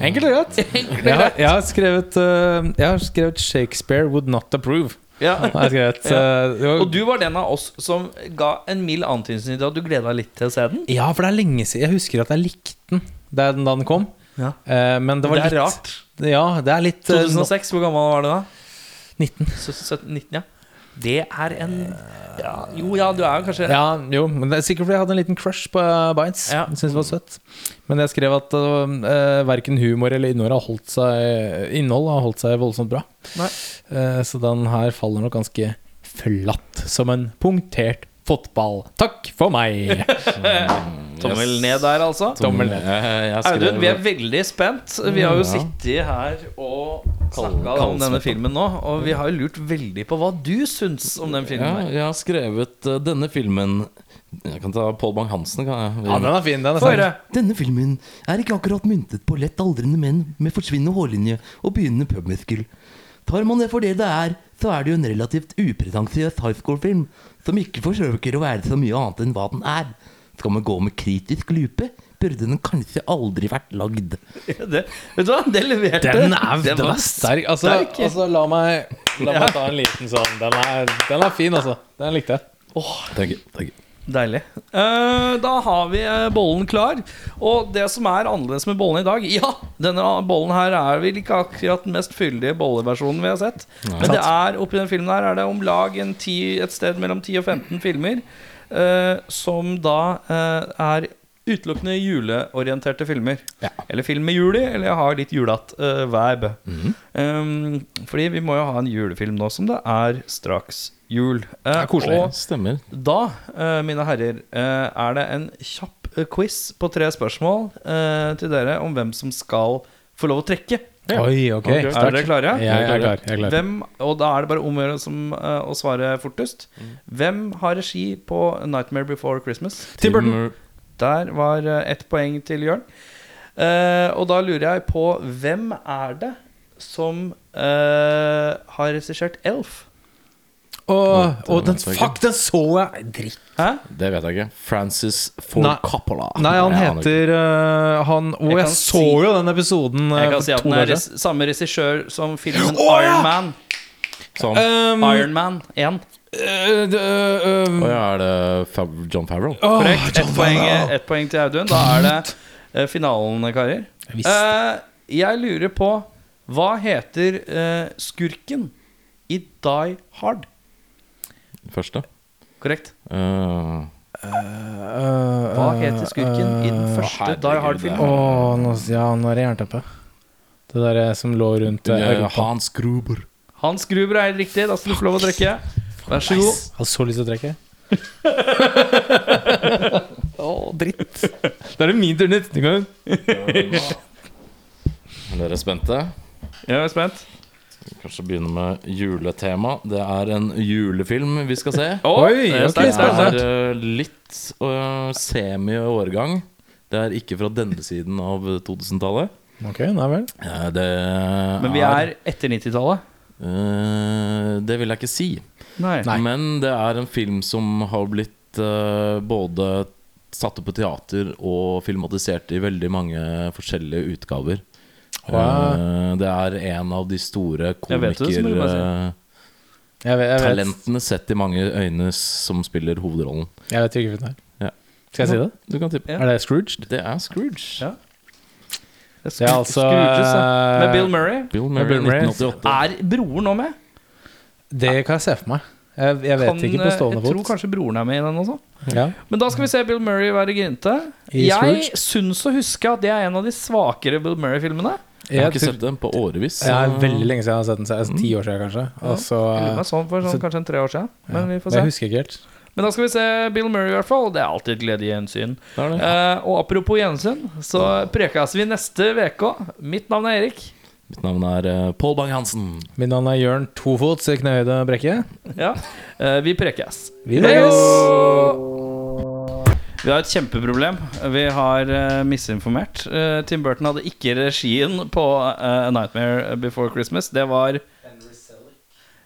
S4: Enkelt og greit. Jeg har, jeg, har skrevet, eh, jeg har skrevet 'Shakespeare would not approve'. Har
S1: (laughs)
S4: jeg skrevet, eh, det var-
S1: Og du var den av oss som ga en mild antydning til at du gleda deg litt til å se den.
S4: Ja, for det er lenge siden. Jeg husker at jeg likte den da den, da den kom.
S1: Ja.
S4: Eh, men det var
S1: Det er
S4: litt
S1: rart.
S4: Ja, det er litt eh,
S1: 2006, hvor gammel var du da?
S4: 19.
S1: 17, 19, ja. Det er en ja, Jo ja, du er jo kanskje
S4: Ja, jo, men det er sikkert fordi jeg hadde en liten crush på eh, Bites.
S1: Ja.
S4: Jeg Synes det var søtt. Men jeg skrev at uh, verken humor eller innhold har holdt seg, innhold har holdt seg voldsomt bra.
S1: Nei.
S4: Eh, så den her faller nok ganske flatt, som en punktert fotball. Takk for meg!
S1: Tommel ned der, altså.
S4: Tommel
S3: Eh,
S4: ned.
S3: jeg skrev-
S1: Audun, vi er veldig spent. Vi har jo
S3: Ja.
S1: sittet her og snakka om
S3: kaldsvett,
S1: denne
S3: da.
S1: filmen nå, og vi har jo lurt veldig på hva du syns om den filmen.
S3: ja,
S1: her.
S3: jeg har skrevet eh, denne filmen Jeg kan ta Pål Bang-Hansen, kan jeg?
S4: Ja, den er fin, den. Er
S1: Få
S4: fin.
S1: høre.
S6: Denne filmen er ikke akkurat myntet på lett aldrende menn med forsvinnende hårlinje og begynnende pubmuskel. Tar man det for det det er, så er det jo en relativt upretensiøs high school-film som ikke forsøker å være så mye annet enn hva den er. Skal man gå med kritisk lupe, burde den kanskje aldri vært lagd.
S1: (laughs) Det, vet du hva, det leverte.
S4: Den er,
S1: Det
S4: den
S1: var
S4: er sterk. Altså,
S1: sterk.
S4: altså la meg, la meg ta en liten sånn. Den er, den er fin, altså. Den likte jeg.
S3: Thank you, thank you.
S1: Deilig. Eh, da har vi eh, bollen klar. Og det som er annerledes med bollen i dag Ja, denne bollen her er vel ikke akkurat den mest fyldige bolleversjonen vi har sett. Men det er oppi den filmen her er det om lag en 10 et sted mellom 10 og 15 filmer eh, som da eh, er utelukkende juleorienterte filmer. Eller film med jul i, eller jeg har litt julete eh, vibe. Ehm, fordi vi må jo ha en julefilm nå som det er straks jul. Eh, og-
S3: Stemmer.
S1: da, eh, mine herrer, eh, er det en kjapp eh, quiz på tre spørsmål eh, til dere om hvem som skal få lov å trekke.
S4: Oi, ok.
S1: Er dere klare?
S4: Ja, jeg er klar. Jeg er klar.
S1: Hvem, og da er det bare om å gjøre som, eh, å svare fortest.
S4: Mm.
S1: Hvem har regi på 'Nightmare Before Christmas'?
S4: Tim Burton.
S1: Der var eh, ett poeng til Jørn. Eh, og da lurer jeg på hvem er det som eh, har regissert 'Elf'?
S4: Åh,
S3: Den
S4: åh, den,
S3: vet jeg
S4: fuck, den så jeg! Dritt.
S1: Hæ?
S3: Det vet jeg ikke. Francis Ford
S4: Nei.
S3: Coppola.
S4: Nei, han
S3: Jeg aner ikke.
S4: heter øh, han Å,
S1: Jeg
S4: jeg,
S1: kan
S4: så
S1: si-
S4: jo den episoden
S1: Jeg kan
S4: øh,
S1: si at
S4: for
S1: den er
S4: to dager
S1: res-
S4: siden.
S1: samme regissør som filmen Ehm,
S4: Å, ja!
S1: Iron Man.
S3: Som
S4: Um,
S1: Iron Man 1.
S4: Eh, det, eh,
S3: Og ja, er det Fav John Favreau?
S4: åh,
S1: Korrekt. Ett
S4: John
S1: poeng,
S4: Favreau.
S1: ett poeng til Audun. Da er det eh, finalen, karer.
S4: Jeg visste.
S1: Eh, jeg lurer på Hva heter eh, skurken i Die Hard?
S3: Første.
S1: Korrekt.
S3: Eh,
S1: Hva
S4: Eh,
S1: heter skurken i den første
S3: herregud,
S1: Die
S4: Åh,
S1: Hard-filmen?
S4: nå, ja, nå er det jernteppe. Det derre som lå rundt eh,
S3: eh,
S4: Europa.
S3: Hans Gruber.
S1: Hans Gruber er helt riktig. Da skal du få lov å trekke. Vær så god.
S4: Jeg hadde så lyst til å trekke. Å, dritt. Da er det min tur neste gang.
S3: Er dere spente?
S1: Jeg er spent.
S3: Kanskje begynne med juletema. Det er en julefilm vi skal se.
S1: Å,
S4: Oi,
S1: det er
S4: ok,
S1: sterkt,
S3: Det
S1: sterkt.
S3: er eh, litt uh, semi-årgang. Det er ikke fra denne siden av 2000-tallet.
S4: Ok, nei vel.
S3: Eh, Det
S1: Men vi er etter 90-tallet.
S3: eh, Det vil jeg ikke si.
S1: Nei.
S3: Men det er en film som har blitt eh, både satt opp på teater og filmatisert i veldig mange forskjellige utgaver. Eh, det er en av de store
S1: Jeg vet det, så må du bare si.
S3: komikertalentene
S4: Jeg vet, jeg vet,
S3: sett i mange øyne som spiller hovedrollen.
S4: jeg vet ikke hvilken det er.
S3: Ja.
S4: Skal jeg si det?
S3: Du kan tippe.
S1: Ja.
S4: Er det Scrooged?
S3: Det er Scrooge.
S1: Ja. Det
S4: Det er altså
S1: Scrooges, ja. Med Bill Murray.
S3: Bill Murray,
S4: Bill Murray.
S3: 1988.
S1: Er broren nå med?
S4: eh, Det kan jeg se for meg. Jeg, jeg vet
S1: Kan,
S4: ikke
S1: eh,
S4: på stående
S1: Jeg tror
S4: fot.
S1: kanskje broren er med i den også.
S4: Ja.
S1: Men da skal vi se Bill Murray være grinte.
S4: I
S1: Jeg
S4: Scrooge?
S1: syns å huske at det er en av de svakere Bill Murray-filmene.
S3: Jeg har
S4: Jeg,
S3: ikke
S4: tror,
S3: sett den på årevis.
S4: jeg er veldig lenge siden jeg har sett den. så jeg er Ti
S1: Mm.
S4: år siden, kanskje. Og så, eh,
S1: Jeg lurer meg Sånn for sånn, kanskje en tre år siden. Men vi får
S4: jeg
S1: se.
S4: husker ikke helt.
S1: Men da skal vi se Bill Murray, i hvert fall. Det er alltid et glede i gjensyn.
S3: Det er det.
S1: Eh, og apropos gjensyn, så prekes vi neste uke. Mitt navn er Erik.
S3: Mitt navn er eh, Pål Bang-Hansen.
S4: Mitt navn er Jørn Tofots Knehøyde Brekke.
S1: Ja, eh, vi prekes.
S4: Vi ses!
S1: Vi har et kjempeproblem. Vi har eh, misinformert. Eh, Tim Burton hadde ikke regien på eh, A Nightmare Before Christmas. Det var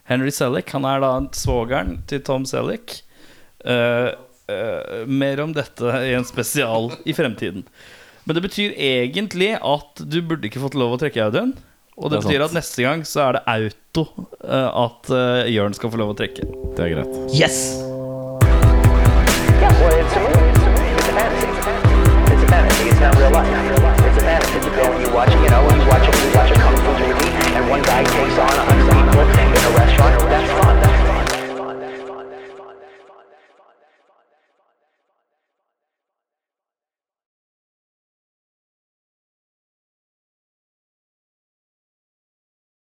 S1: Henry Selleck. Han er da svogeren til Tom Selleck. Eh, eh, mer om dette i en spesial i fremtiden. Men det betyr egentlig at du burde ikke fått lov å trekke Audun. Og det,
S3: Det
S1: betyr
S3: er sant.
S1: at neste gang så er det auto eh, at eh, Jørn skal få lov å trekke.
S3: Det er greit.
S2: Yes!